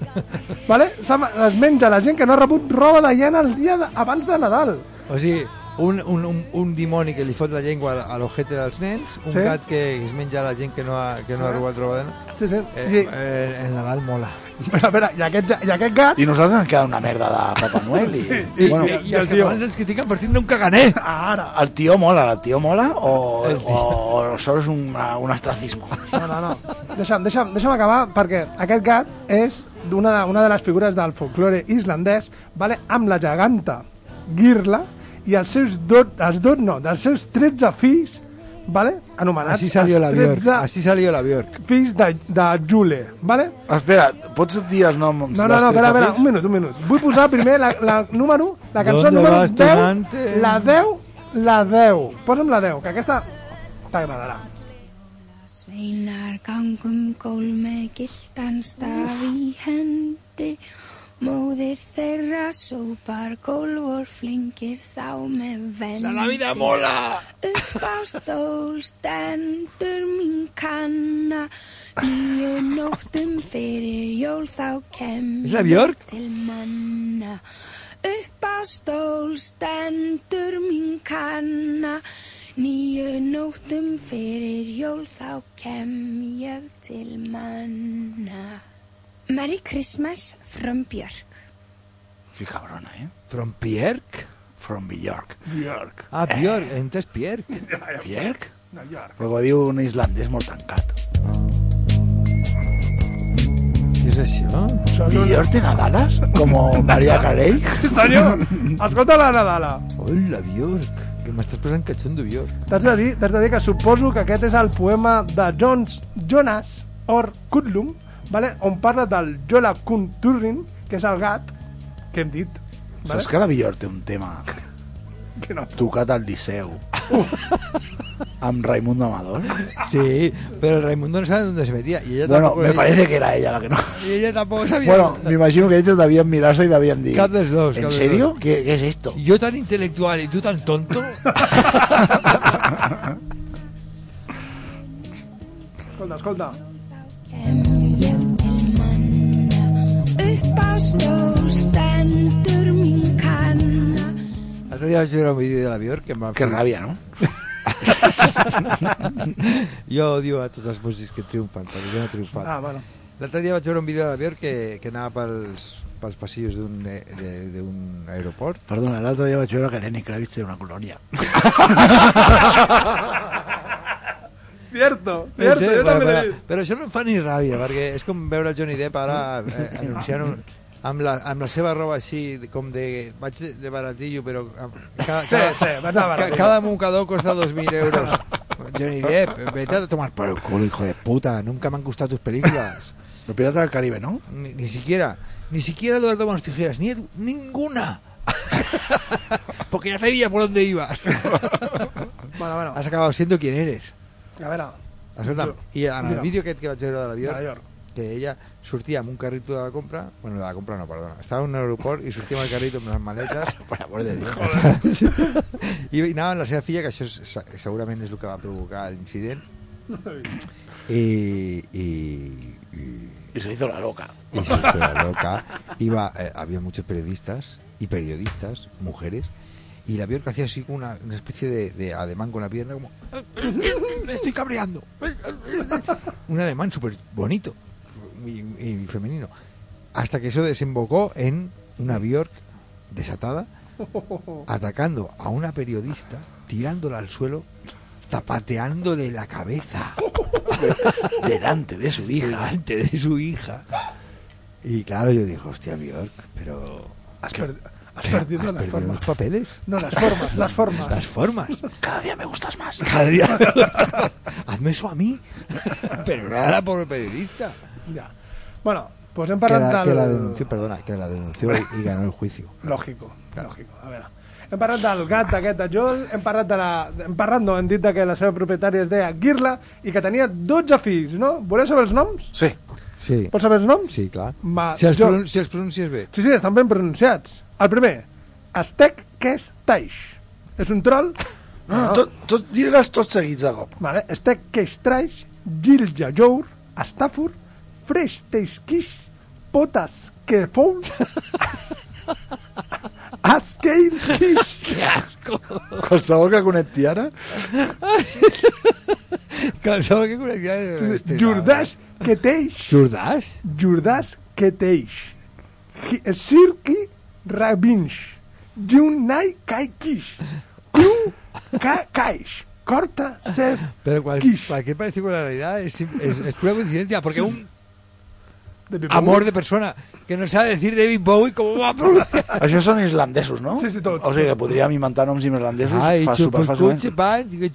Speaker 9: vale? Se me- les menja la gent que no ha rebut roba de llana el dia de, abans de Nadal.
Speaker 10: O sigui, un, un, un, un dimoni que li fot la llengua a l'ojete dels nens, un
Speaker 9: Sí.
Speaker 10: sí? gat que es menja la gent que no ha, que no ha robat roba de nens.
Speaker 9: Sí, sí.
Speaker 10: Eh,
Speaker 9: Sí.
Speaker 10: eh, el Nadal mola.
Speaker 9: Espera, espera, i aquest, ja- i aquest gat...
Speaker 16: I nosaltres ens queda una merda de Papa Noel. I,
Speaker 9: Sí, i-
Speaker 16: bueno,
Speaker 10: I, I els catalans ens critiquen per tindre un caganer.
Speaker 9: Ara.
Speaker 16: El tío mola, el tío mola o, o, o solo es un, un ostracismo.
Speaker 9: No, no, no. Deixa'm, deixa'm, deixa'm acabar, perquè aquest gat és una de, una de les figures del folklore islandès, vale? amb la geganta Girla i els seus dos, els dos no, dels seus 13 fills, vale? anomenats
Speaker 10: Així salió la
Speaker 9: els
Speaker 10: Björk. Així Doncs salió la Björk.
Speaker 9: fills de, de Jule, vale?
Speaker 16: Espera, pots dir els noms
Speaker 9: No, no,
Speaker 16: dels
Speaker 9: no, espera, espera,
Speaker 16: fills?
Speaker 9: un minut, un minut. Vull posar primer la, la número, la cançó
Speaker 10: ¿Dónde
Speaker 9: número
Speaker 10: vas,
Speaker 9: 10,
Speaker 10: tunante?
Speaker 9: la 10, la 10. Posa'm la 10, que aquesta t'agradarà.
Speaker 4: Sveinar gangum gól með gildan staf í hendi Móðir þeirra sópar gólvor flingir þá með vendi
Speaker 17: Navidad mola!
Speaker 4: Upp á stól stendur mín kanna Nýju nóttum fyrir jól þá kem
Speaker 10: És la Björk?
Speaker 4: til manna Upp á stól stendur mín kanna Nýju nóttum fyrir jól þá kem ég til manna Merry Christmas from Björk
Speaker 16: Sí, cabrona, eh?
Speaker 10: From Björk?
Speaker 16: From Björk. Björk.
Speaker 10: Ah, Björk, eh. entes Björk.
Speaker 16: Björk?
Speaker 9: No, Björk.
Speaker 16: Però ho diu un islandès molt tancat.
Speaker 10: Què és això?
Speaker 16: Björk de Nadales? Como María Carey?
Speaker 9: Sí, senyor, escolta la Nadala.
Speaker 10: Hola, Björk. Que m'estàs posant catxondo, Björk.
Speaker 9: T'has de, dir, t'has de dir que suposo que aquest és el poema de Jones, Jonas Or Kudlum, vale? on parla del Jola Kunturrin, que és el gat que hem dit. Vale?
Speaker 16: Saps que la Björk té un tema
Speaker 9: que no.
Speaker 16: tocat al Liceu? amb Raimundo Amador?
Speaker 10: Sí, però el Raimundo no sabe dónde se metía. Y ella
Speaker 16: Bueno,
Speaker 10: tampoco
Speaker 16: me parece que era ella la que no.
Speaker 10: Y ella tampoco sabía.
Speaker 16: Bueno, m'imagino que ells devien mirar-se i devien dir...
Speaker 10: Cap dels dos,
Speaker 16: ¿En
Speaker 10: cap dels
Speaker 16: serio?
Speaker 10: dos.
Speaker 16: ¿Qué, ¿Qué es esto?
Speaker 10: Yo tan intelectual y tú tan tonto.
Speaker 9: Escolta, escolta.
Speaker 4: Upp á stól stendur mín kanna
Speaker 10: L'altre dia vaig veure un vídeo de la Björk que em va...
Speaker 16: Que ràbia, no?
Speaker 10: jo odio a tots els músics que triomfen, perquè jo no he triomfat.
Speaker 9: Ah, bueno.
Speaker 10: L'altre dia vaig veure un vídeo de la Björk que, que anava pels, pels passillos d'un eh, de- d'un aeroport.
Speaker 16: Perdona, l'altre dia vaig veure que Lenny Kravitz té una colònia.
Speaker 9: Cierto,
Speaker 10: Eh,
Speaker 9: cierto,
Speaker 10: sí,
Speaker 9: jo
Speaker 10: però,
Speaker 9: també l'he
Speaker 10: però,
Speaker 9: dit.
Speaker 10: però això no em fa ni ràbia, perquè és com veure el Johnny Depp ara eh, anunciant un, amb, la, amb la seva roba així, com de... Vaig de- de baratillo, però... amb- Cada,
Speaker 9: Sí, sí, vaig de baratillo.
Speaker 10: ca- cada mocador costa 2.000 euros. Johnny Depp, vete a tomar por el culo, hijo de puta. Nunca me han gustado tus películas.
Speaker 16: Los Piratas del Caribe, ¿no?
Speaker 10: Ni, ni siquiera, ni siquiera Eduardo Manos Tijeras, ni Edu- ninguna. Porque ya sabía por dónde ibas.
Speaker 9: Bueno, bueno,
Speaker 10: Has acabado siendo quien eres.
Speaker 9: a veure.
Speaker 10: Escolta'm, i en el
Speaker 9: Digue'm.
Speaker 10: vídeo aquest que vaig veure de
Speaker 9: De la
Speaker 10: l'avió,
Speaker 9: Björk.
Speaker 10: que ella sortia amb un carrito de la compra, bueno, de la compra no, perdona, estava en un aeroport i sortia amb el carrito amb les maletes
Speaker 16: Por amor de Dios.
Speaker 10: Sí. i anava amb la seva filla, que això és, se- segurament és el que va provocar l'incident, i, i, i
Speaker 16: Y se hizo la loca.
Speaker 10: y se hizo la loca. Iba, eh, había muchos periodistas y periodistas, mujeres, y la Bjork hacía así como una, una especie de, de ademán con la pierna, como me estoy cabreando. Un ademán súper bonito y, y femenino. Hasta que eso desembocó en una Bjork desatada atacando a una periodista, tirándola al suelo, zapateándole la cabeza
Speaker 16: Delante de su hija.
Speaker 10: delante de su hija. Y claro, yo dije, hostia, Bjork, pero.
Speaker 9: Has,
Speaker 10: ¿qué-
Speaker 9: perdi- has
Speaker 10: ¿Has
Speaker 9: perdido
Speaker 10: perdido
Speaker 9: las formas.
Speaker 10: los papeles?
Speaker 9: No, las formas, las formas.
Speaker 10: Las formas.
Speaker 16: Cada día me gustas más.
Speaker 10: Cada día. Hazme eso a mí. Pero no era por el periodista.
Speaker 9: Ya. Bueno, pues hem parlat
Speaker 10: que la, que la
Speaker 9: del...
Speaker 10: denunció, perdona, que la denunció y, y ganó el juicio.
Speaker 9: Lògico, lògico. A veure, hem parlat del gat aquest de Joel, hem parlat de la... Hem parlat, no, hem dit de que la seva propietària es deia Girla i que tenia 12 fills, no? Voleu saber els noms?
Speaker 16: Sí.
Speaker 10: Sí.
Speaker 9: Pots saber els noms?
Speaker 10: Sí, clar.
Speaker 9: Ma-
Speaker 10: Si els,
Speaker 9: jo-
Speaker 10: pronun si els pronuncies bé.
Speaker 9: Sí, sí, estan ben pronunciats. El primer, Aztec Kes Taix. És un troll?
Speaker 16: No, no, tot, tot, digues tots seguits de cop.
Speaker 9: Vale, Aztec Kes Taix, Gilja Jour, Astafur, Fresh Teixquish, Potas Kefou, Askeil Kish.
Speaker 16: Que asco! Qualsevol que connecti ara...
Speaker 10: Qualsevol que connecti ara...
Speaker 9: Jordàs Keteix.
Speaker 10: Jordàs?
Speaker 9: Jordàs Keteix. Hi- Sirki Rabinx. Junai Kaikish. Kru Kakaish. Corta Sef.
Speaker 10: Pero cual- cualquier particularidad es, es, es pura coincidencia, porque un
Speaker 9: David Bowie.
Speaker 10: amor de persona que no sabe decir David Bowie, ¿cómo va a pronunciar?
Speaker 16: Això són islandesos, no?
Speaker 9: Sí, sí, tots.
Speaker 16: O sigui que podríem inventar noms islandesos
Speaker 10: Ai,
Speaker 16: fa superfàcilment.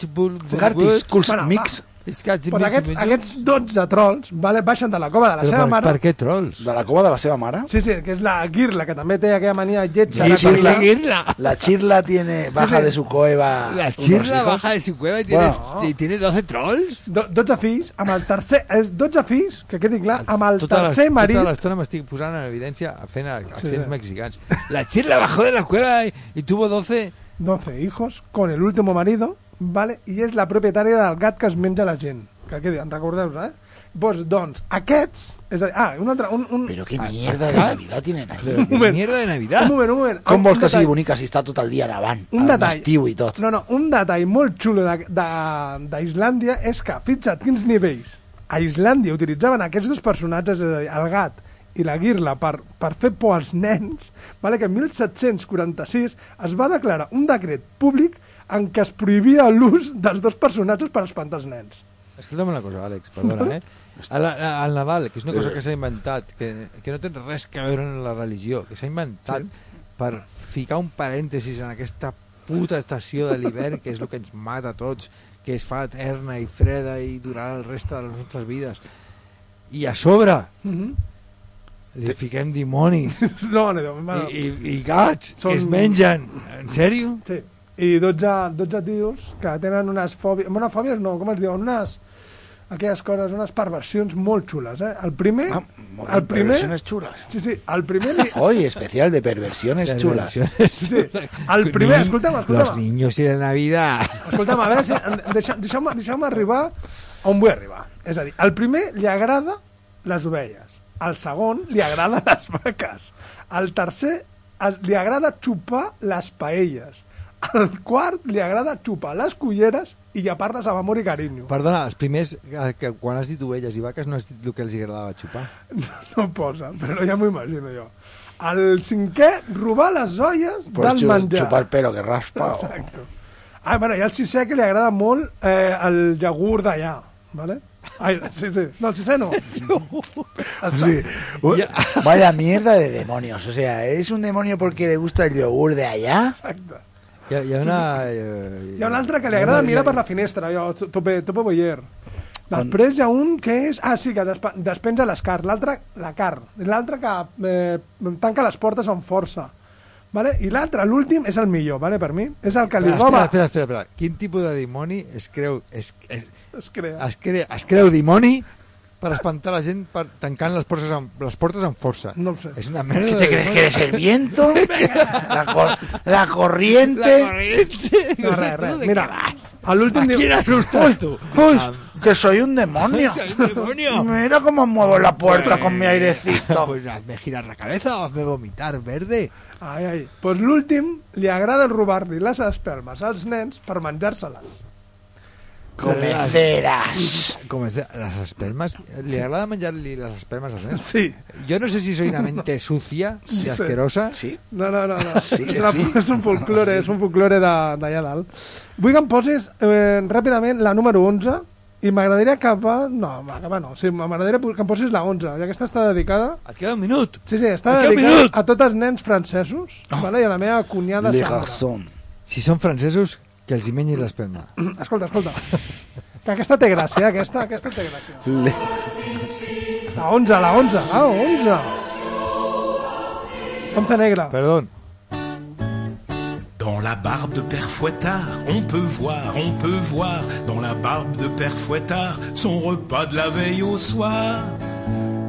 Speaker 16: Curtis, Kulz, Mix.
Speaker 9: Pues aquests, aquests 12 trolls vale, baixen de la cova de la
Speaker 16: Però
Speaker 9: seva
Speaker 16: per-
Speaker 9: mare.
Speaker 16: per
Speaker 10: què trolls?
Speaker 16: De la cova de la seva mare?
Speaker 9: Sí, sí, que és la Girla, que també té aquella mania lletja. de
Speaker 16: Girla.
Speaker 9: parlar.
Speaker 16: La chirla tiene, baja
Speaker 9: Sí, sí.
Speaker 16: de su coeva.
Speaker 10: La
Speaker 16: unos
Speaker 10: chirla
Speaker 16: hijos.
Speaker 10: baja de su cueva y tiene,
Speaker 16: Bueno.
Speaker 10: y tiene 12 trolls.
Speaker 9: Do, 12 fills, amb el tercer... És 12 fills, que quedi clar, amb el
Speaker 10: Tota
Speaker 9: tercer
Speaker 10: l'est-
Speaker 9: marit...
Speaker 10: Tota l'estona m'estic posant en evidència fent accents
Speaker 9: sí. eh.
Speaker 10: mexicans. La chirla bajó de la cueva y, y tuvo 12...
Speaker 9: 12 hijos con el último marido, ¿vale? I és la propietària del gat que es menja la gent. Que quedi, en recordeu-vos, eh? Pues, doncs, aquests... És a dir, ah, un altre... Un, un...
Speaker 16: Pero qué
Speaker 9: Ah,
Speaker 16: mierda de
Speaker 9: ah,
Speaker 16: Navidad tienen ahí.
Speaker 9: Un moment.
Speaker 10: Mierda de Navidad.
Speaker 9: Un moment, un moment.
Speaker 16: Com
Speaker 9: Un
Speaker 16: vols que sigui
Speaker 9: detall.
Speaker 16: bonica si està tot el dia nevant?
Speaker 9: Un
Speaker 16: amb
Speaker 9: detall.
Speaker 16: Estiu i tot.
Speaker 9: No, no, un detall molt xulo de- de- d'Islàndia és que, fixa't quins nivells. A Islàndia utilitzaven aquests dos personatges, és a dir, el gat i la guirla, per, per fer por als nens, vale, que en 1746 es va declarar un decret públic en què es prohibia l'ús dels dos personatges per espantar els nens.
Speaker 10: Escolta'm una cosa, Àlex, perdona, eh? Al, al Nadal, que és una cosa
Speaker 9: Eh.
Speaker 10: que s'ha inventat, que, que no té res que veure amb la religió, que s'ha inventat per ficar un parèntesis en aquesta puta estació de l'hivern, que és el que ens mata a tots, que es fa eterna i freda i durarà el resta de les nostres vides. I a sobre
Speaker 9: Mhm.
Speaker 10: li fiquem dimonis
Speaker 9: No, no, no, no.
Speaker 10: i, i, i gats que es mengen. En sèrio?
Speaker 9: Sí. I 12, 12 tios que tenen unes fòbies... Bueno, fòbies no, com es diuen? Unes... Aquelles coses, unes perversions molt xules, eh? El primer... Ah, el primer...
Speaker 16: perversiones xules.
Speaker 9: Sí, sí, el primer... Li...
Speaker 16: Hoy especial de perversiones chulas.
Speaker 9: Sí, sí. El primer... Escolta'm,
Speaker 10: Los
Speaker 9: escolta'm.
Speaker 10: niños y la Navidad.
Speaker 9: Escolta'm, a veure si... Deixeu-me deixeu deixeu arribar on vull arribar. És a dir, el primer li agrada les ovelles. El segon li agrada les vaques. El tercer es- li agrada xupar les paelles. El quart li agrada xupar les culleres i llepar-les amb amor i carinyo.
Speaker 10: Perdona, els primers, eh, que quan has dit ovelles i vaques, no has dit el que els agradava xupar.
Speaker 9: No posa, però ja m'ho imagino jo. El cinquè, robar les olles
Speaker 16: Pues
Speaker 9: del
Speaker 16: chu-
Speaker 9: menjar.
Speaker 16: Chupar pelo que raspa. o-
Speaker 9: Exacte. Ah, bueno, i al sisè que li agrada molt eh, el iogurt d'allà, ¿vale? Ai, sí, sí. No, el sisè no. El
Speaker 16: Sí.
Speaker 9: sa-
Speaker 16: Uy, Vaya mierda de demonios. O sea, es un demonio porque le gusta el yogur de allá.
Speaker 9: Exacte.
Speaker 10: Hi ha, hi ha una... Eh,
Speaker 9: Hi ha un altre que li agrada
Speaker 10: hi ha-
Speaker 9: mirar per la finestra, allò, to- tope, tope boyer. Després hi ha un que és... Ah, sí, que despa- despenja les carn. L'altre, la carn. L'altre que eh, tanca les portes amb força. Vale? I l'altre, l'últim, és el millor, vale, per mi. És el que li
Speaker 10: Espera, espera,
Speaker 9: roba...
Speaker 10: espera, espera, espera. Quin tipus de dimoni es creu... Es, es,
Speaker 9: Es crea.
Speaker 10: es, crea, es creu dimoni per espantar la gent per tancant les portes amb, les portes amb força.
Speaker 9: No ho sé.
Speaker 10: És una
Speaker 16: ¿Qué
Speaker 10: merda
Speaker 16: te crees que eres el viento? La, cor- la
Speaker 10: La
Speaker 16: corriente.
Speaker 10: corriente.
Speaker 9: No,
Speaker 10: No
Speaker 9: res,
Speaker 10: sé
Speaker 9: res.
Speaker 10: tu de
Speaker 9: Mira,
Speaker 10: què vas.
Speaker 9: a l'últim...
Speaker 10: ¿A
Speaker 9: diu-
Speaker 10: quién asustas tú? Ah,
Speaker 16: Uy, que soy un demonio. Eh,
Speaker 10: Soy un demonio.
Speaker 16: Mira cómo muevo la puerta con mi airecito.
Speaker 10: Pues hazme girar la cabeza o hazme vomitar verde.
Speaker 9: Ai, ai. Pues l'últim li agrada robar-li les espelmes als nens per menjar-se-les.
Speaker 16: Comeceras.
Speaker 10: Comencé- las espermas. ¿Le agrada manjarle las espermas a los nenes?
Speaker 9: Sí.
Speaker 10: Yo no sé si soy una mente sucia y
Speaker 9: Sí.
Speaker 10: asquerosa.
Speaker 16: Sí.
Speaker 9: No, no, no. no.
Speaker 16: Ah, Sí,
Speaker 9: és, una,
Speaker 16: sí.
Speaker 9: és un folklore, és un folklore de- d'allà dalt. Vull que em posis eh, ràpidament la número 11 i m'agradaria que... Va... No, va, que va, no. Sí, m'agradaria que em posis la 11, ja que aquesta està dedicada...
Speaker 10: Et queda un minut.
Speaker 9: Sí, sí, està
Speaker 10: Aquest
Speaker 9: dedicada
Speaker 10: minut!
Speaker 9: a tots els nens francesos
Speaker 16: Oh.
Speaker 9: vale? i a la meva cunyada
Speaker 16: Le
Speaker 9: Sandra.
Speaker 16: garçon.
Speaker 10: Si són francesos, que els hi mengin l'esperma.
Speaker 9: Escolta, escolta. Que aquesta té gràcia, aquesta, aquesta té gràcia.
Speaker 16: Le-
Speaker 9: La 11, la 11, la 11. 11 negra.
Speaker 10: Perdón.
Speaker 18: Dans la barbe de Père Fouettard, on peut voir, on peut voir, dans la barbe de Père Fouettard, son repas de la veille au soir.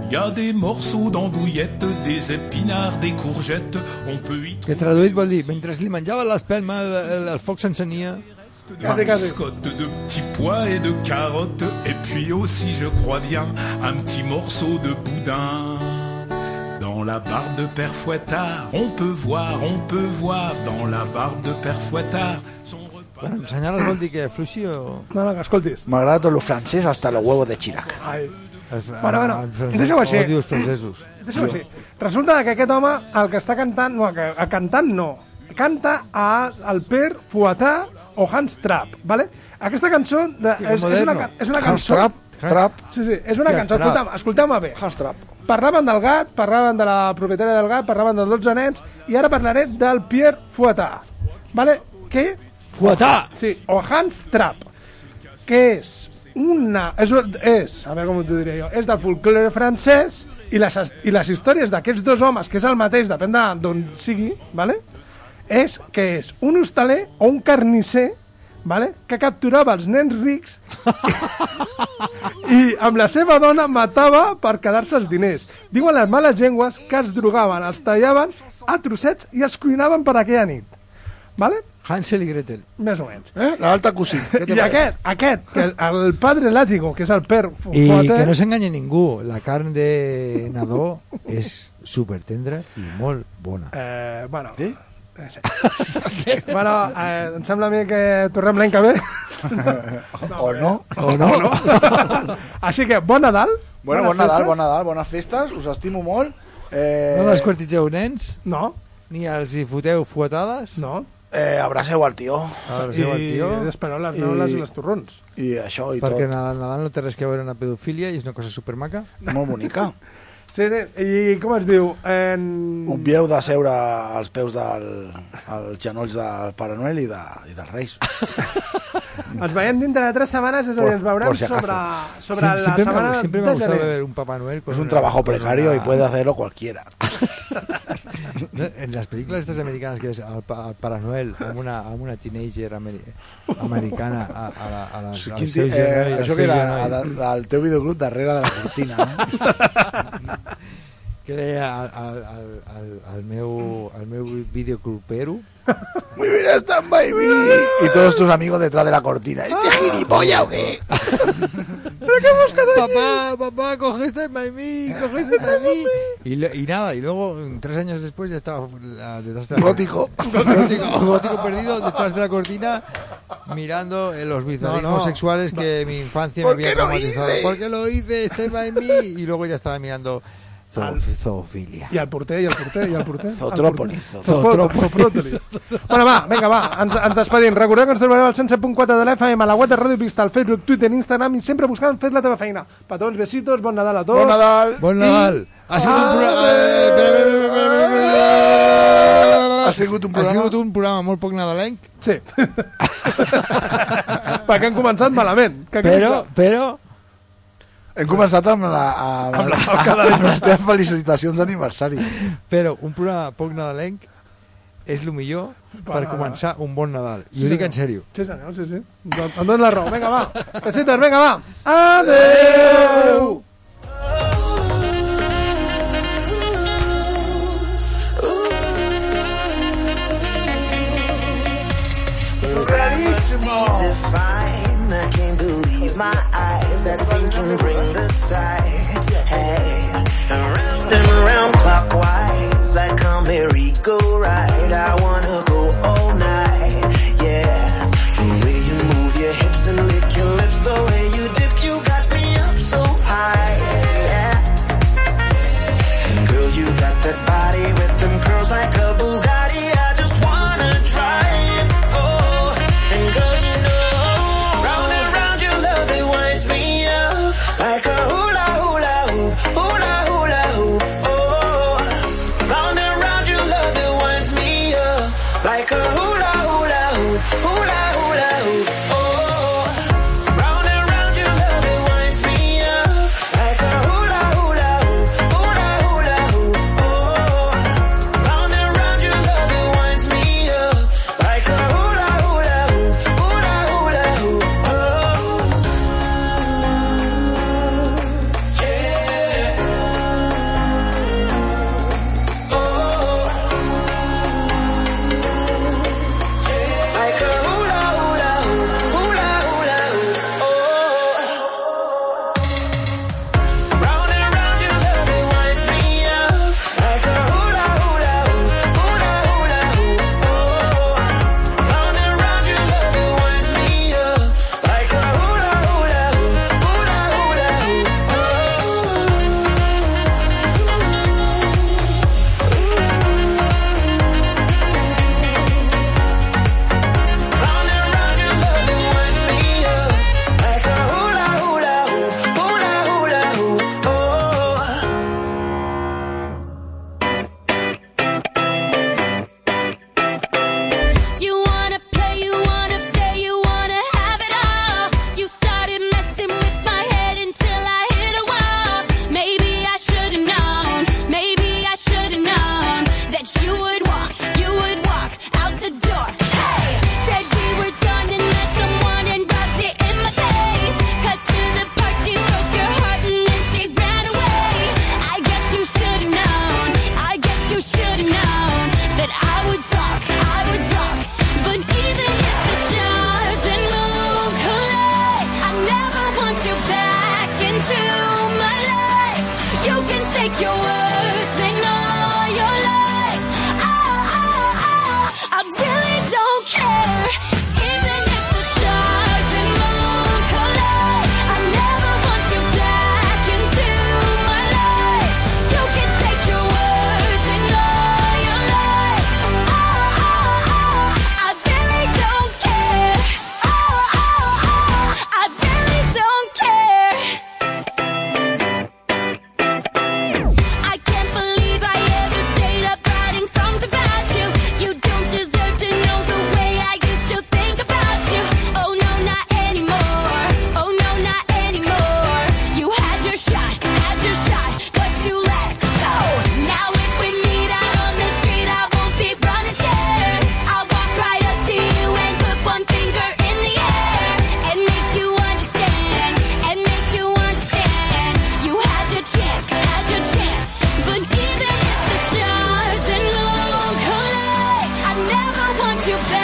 Speaker 18: Il y a des morceaux d'andouillette, des épinards, des courgettes, on peut y
Speaker 10: Que traduït vol dir, mentre li menjava l'espelma, el, el foc s'encenia.
Speaker 18: de biscottes, de petits pois et de carottes, et puis aussi, je crois bien, un petit morceau de boudin. Dans la barbe de Père Fouettard, on peut voir, on peut voir, dans la barbe de Père Fouettard, son repas...
Speaker 10: Bueno, ensenyar-les vol dir que fluixi o...
Speaker 9: No, no, que escoltis.
Speaker 16: M'agrada tot lo francès hasta lo huevo de Chirac.
Speaker 9: Ai.
Speaker 10: Bueno,
Speaker 9: Bueno, bueno, deixa-ho així.
Speaker 10: Com dius francesos?
Speaker 9: Deixa-ho així. Resulta que aquest home, el que està cantant, no, que, a cantant no, canta a el Per Fuatà o Hans Trapp, vale? Aquesta cançó de,
Speaker 16: Sí,
Speaker 9: és, és, una,
Speaker 16: moderno.
Speaker 9: ca- és una
Speaker 16: Hans
Speaker 9: cançó...
Speaker 16: Trapp, Trapp.
Speaker 9: Sí, sí, és una
Speaker 16: Ja,
Speaker 9: cançó,
Speaker 16: Trapp.
Speaker 9: escolta'm, escolta'm bé. Hans Trapp. Parlaven del gat, parlaven de la propietària del gat, parlaven dels 12 nens, i ara parlaré del Pierre Fuatà. Vale? Què?
Speaker 10: Fuatà!
Speaker 9: Sí, o Hans Trapp que és una... És, és a veure com t'ho diré jo, és del folclore francès i les, i les històries d'aquests dos homes, que és el mateix, depèn de- d'on sigui, vale? és que és un hostaler o un carnisser vale? que capturava els nens rics i amb la seva dona matava per quedar-se els diners. Diuen les males llengües que els drogaven, els tallaven a trossets i els cuinaven per aquella nit. Vale?
Speaker 10: Hansel i Gretel.
Speaker 9: Més o menys.
Speaker 16: Eh? L'alta cosí.
Speaker 9: I aquest, aquest, que el, el padre Látigo, que és el per
Speaker 10: I
Speaker 9: Fuater,
Speaker 10: que no s'enganye ningú, la carn de nadó és super tendra i molt bona.
Speaker 9: Eh, bueno... Sí? bueno, eh, em sembla a mi que tornem l'any que ve.
Speaker 16: O no.
Speaker 10: O no.
Speaker 9: Així que, bon Nadal.
Speaker 16: Bueno,
Speaker 9: bones
Speaker 16: bon Nadal,
Speaker 9: festes.
Speaker 16: bon Nadal, bones festes, us estimo molt. Eh,
Speaker 10: No desquartitzeu nens?
Speaker 9: No.
Speaker 10: Ni els hi foteu fuetades?
Speaker 9: No.
Speaker 16: eh, abraceu al tio.
Speaker 10: Abraceu al tio. I
Speaker 9: espereu les neules i les torrons.
Speaker 16: I això, i
Speaker 10: Perquè
Speaker 16: tot.
Speaker 10: Nadal, Nadal no té res que veure amb la pedofilia i és una cosa supermaca.
Speaker 16: Molt bonica.
Speaker 9: Sí, sí. I com es diu? En...
Speaker 16: Obvieu de seure als peus del, als genolls del Pare Noel i, de, i dels Reis.
Speaker 9: Ens veiem dintre de tres setmanes, és a dir, ens veurem
Speaker 16: Por si acaso.
Speaker 9: sobre, sobre la
Speaker 10: siempre
Speaker 9: setmana
Speaker 10: me, siempre me
Speaker 9: de
Speaker 10: ha gustado
Speaker 9: gener.
Speaker 10: ver un Papá Noel con
Speaker 16: Es un
Speaker 10: una-
Speaker 16: trabajo
Speaker 10: con
Speaker 16: precario
Speaker 10: una-
Speaker 16: y puede hacerlo cualquiera.
Speaker 10: No, En las películas estas americanas que es al, pa- al Pare Noel amb una, amb una teenager ameri- americana a, a, la, a la, al
Speaker 16: Quin ti-
Speaker 10: seu genoll,
Speaker 16: eh,
Speaker 10: al
Speaker 16: això
Speaker 10: seu
Speaker 16: que era
Speaker 10: genoll.
Speaker 16: de- del teu videoclub darrere de la cortina. No?
Speaker 10: que deia al, al, al, al, al meu, al meu videoclubero
Speaker 16: Muy bien, están baby. Y todos tus amigos detrás de la cortina. ¿Este gilipollas o qué?
Speaker 10: Papá, papá, cogiste para mí, cogiste para mí. Y, lo- y nada, y luego, mm, tres años después, ya estaba la- detrás de la
Speaker 16: Gótico.
Speaker 10: gótico, gótico perdido detrás de la cortina, mirando eh, los bizarrismos
Speaker 16: No, no.
Speaker 10: sexuales que mi infancia me
Speaker 16: ¿Por
Speaker 10: había
Speaker 16: qué lo
Speaker 10: traumatizado.
Speaker 16: hice?
Speaker 10: ¿Por qué lo hice? Este by me. Y luego ya estaba mirando zoof- zoofilia.
Speaker 9: I el porter, i el porter, i el porter. el
Speaker 10: Zootròpolis,
Speaker 9: porter.
Speaker 10: zootròpolis.
Speaker 9: Zootròpolis. Bueno, va, vinga, va, ens, ens despedim. Recordeu que ens trobareu al 107.4 de l'FM, a la web de Ràdio Pista, al Facebook, Twitter, Instagram, i sempre buscant Fes la teva feina. Petons, besitos, bon Nadal a tots.
Speaker 16: Bon Nadal.
Speaker 10: Bon Nadal. Ha sigut un programa... eh, espera, espera, espera, espera, espera, espera.
Speaker 16: Ha sigut un
Speaker 10: Ha
Speaker 16: programa-
Speaker 10: sigut un programa molt poc nadalenc,
Speaker 9: Sí. Perquè han començat malament. Que
Speaker 10: però, però
Speaker 16: Hem començat amb, la, amb, amb, la, amb les teves felicitacions d'aniversari.
Speaker 10: Però un programa poc nadalenc és el millor per
Speaker 9: Va.
Speaker 10: començar un bon Nadal. I
Speaker 9: Sí,
Speaker 10: ho dic
Speaker 9: senyor.
Speaker 10: en sèrio.
Speaker 9: Sí, senyor, sí, sí. Doncs Em dones la raó. Vinga, va. Besitos, vinga, va. Adeu!
Speaker 4: Easy to find. I can't believe my eyes that thing can bring the tide. Hey, round and round clockwise, like a merry-go-round. I wanna go all night, yeah. The way you move your hips and lick your lips, the way you dip, you got me up so high, yeah. And girl, you got that body with them curls like a Bugatti. I just wanna drive. Oh, and girl, you know, round and round your love it winds me up like a hula hula hoop, hula hula hoop. Oh, round and round your love it winds me up like a hula hula hoop, hula hula hoop. Oh, round and round your love it winds me up like a hula hula oh. oh. oh. oh. oh.
Speaker 10: Ah, Ah, Ah, Oh, you down. Oh, Ah,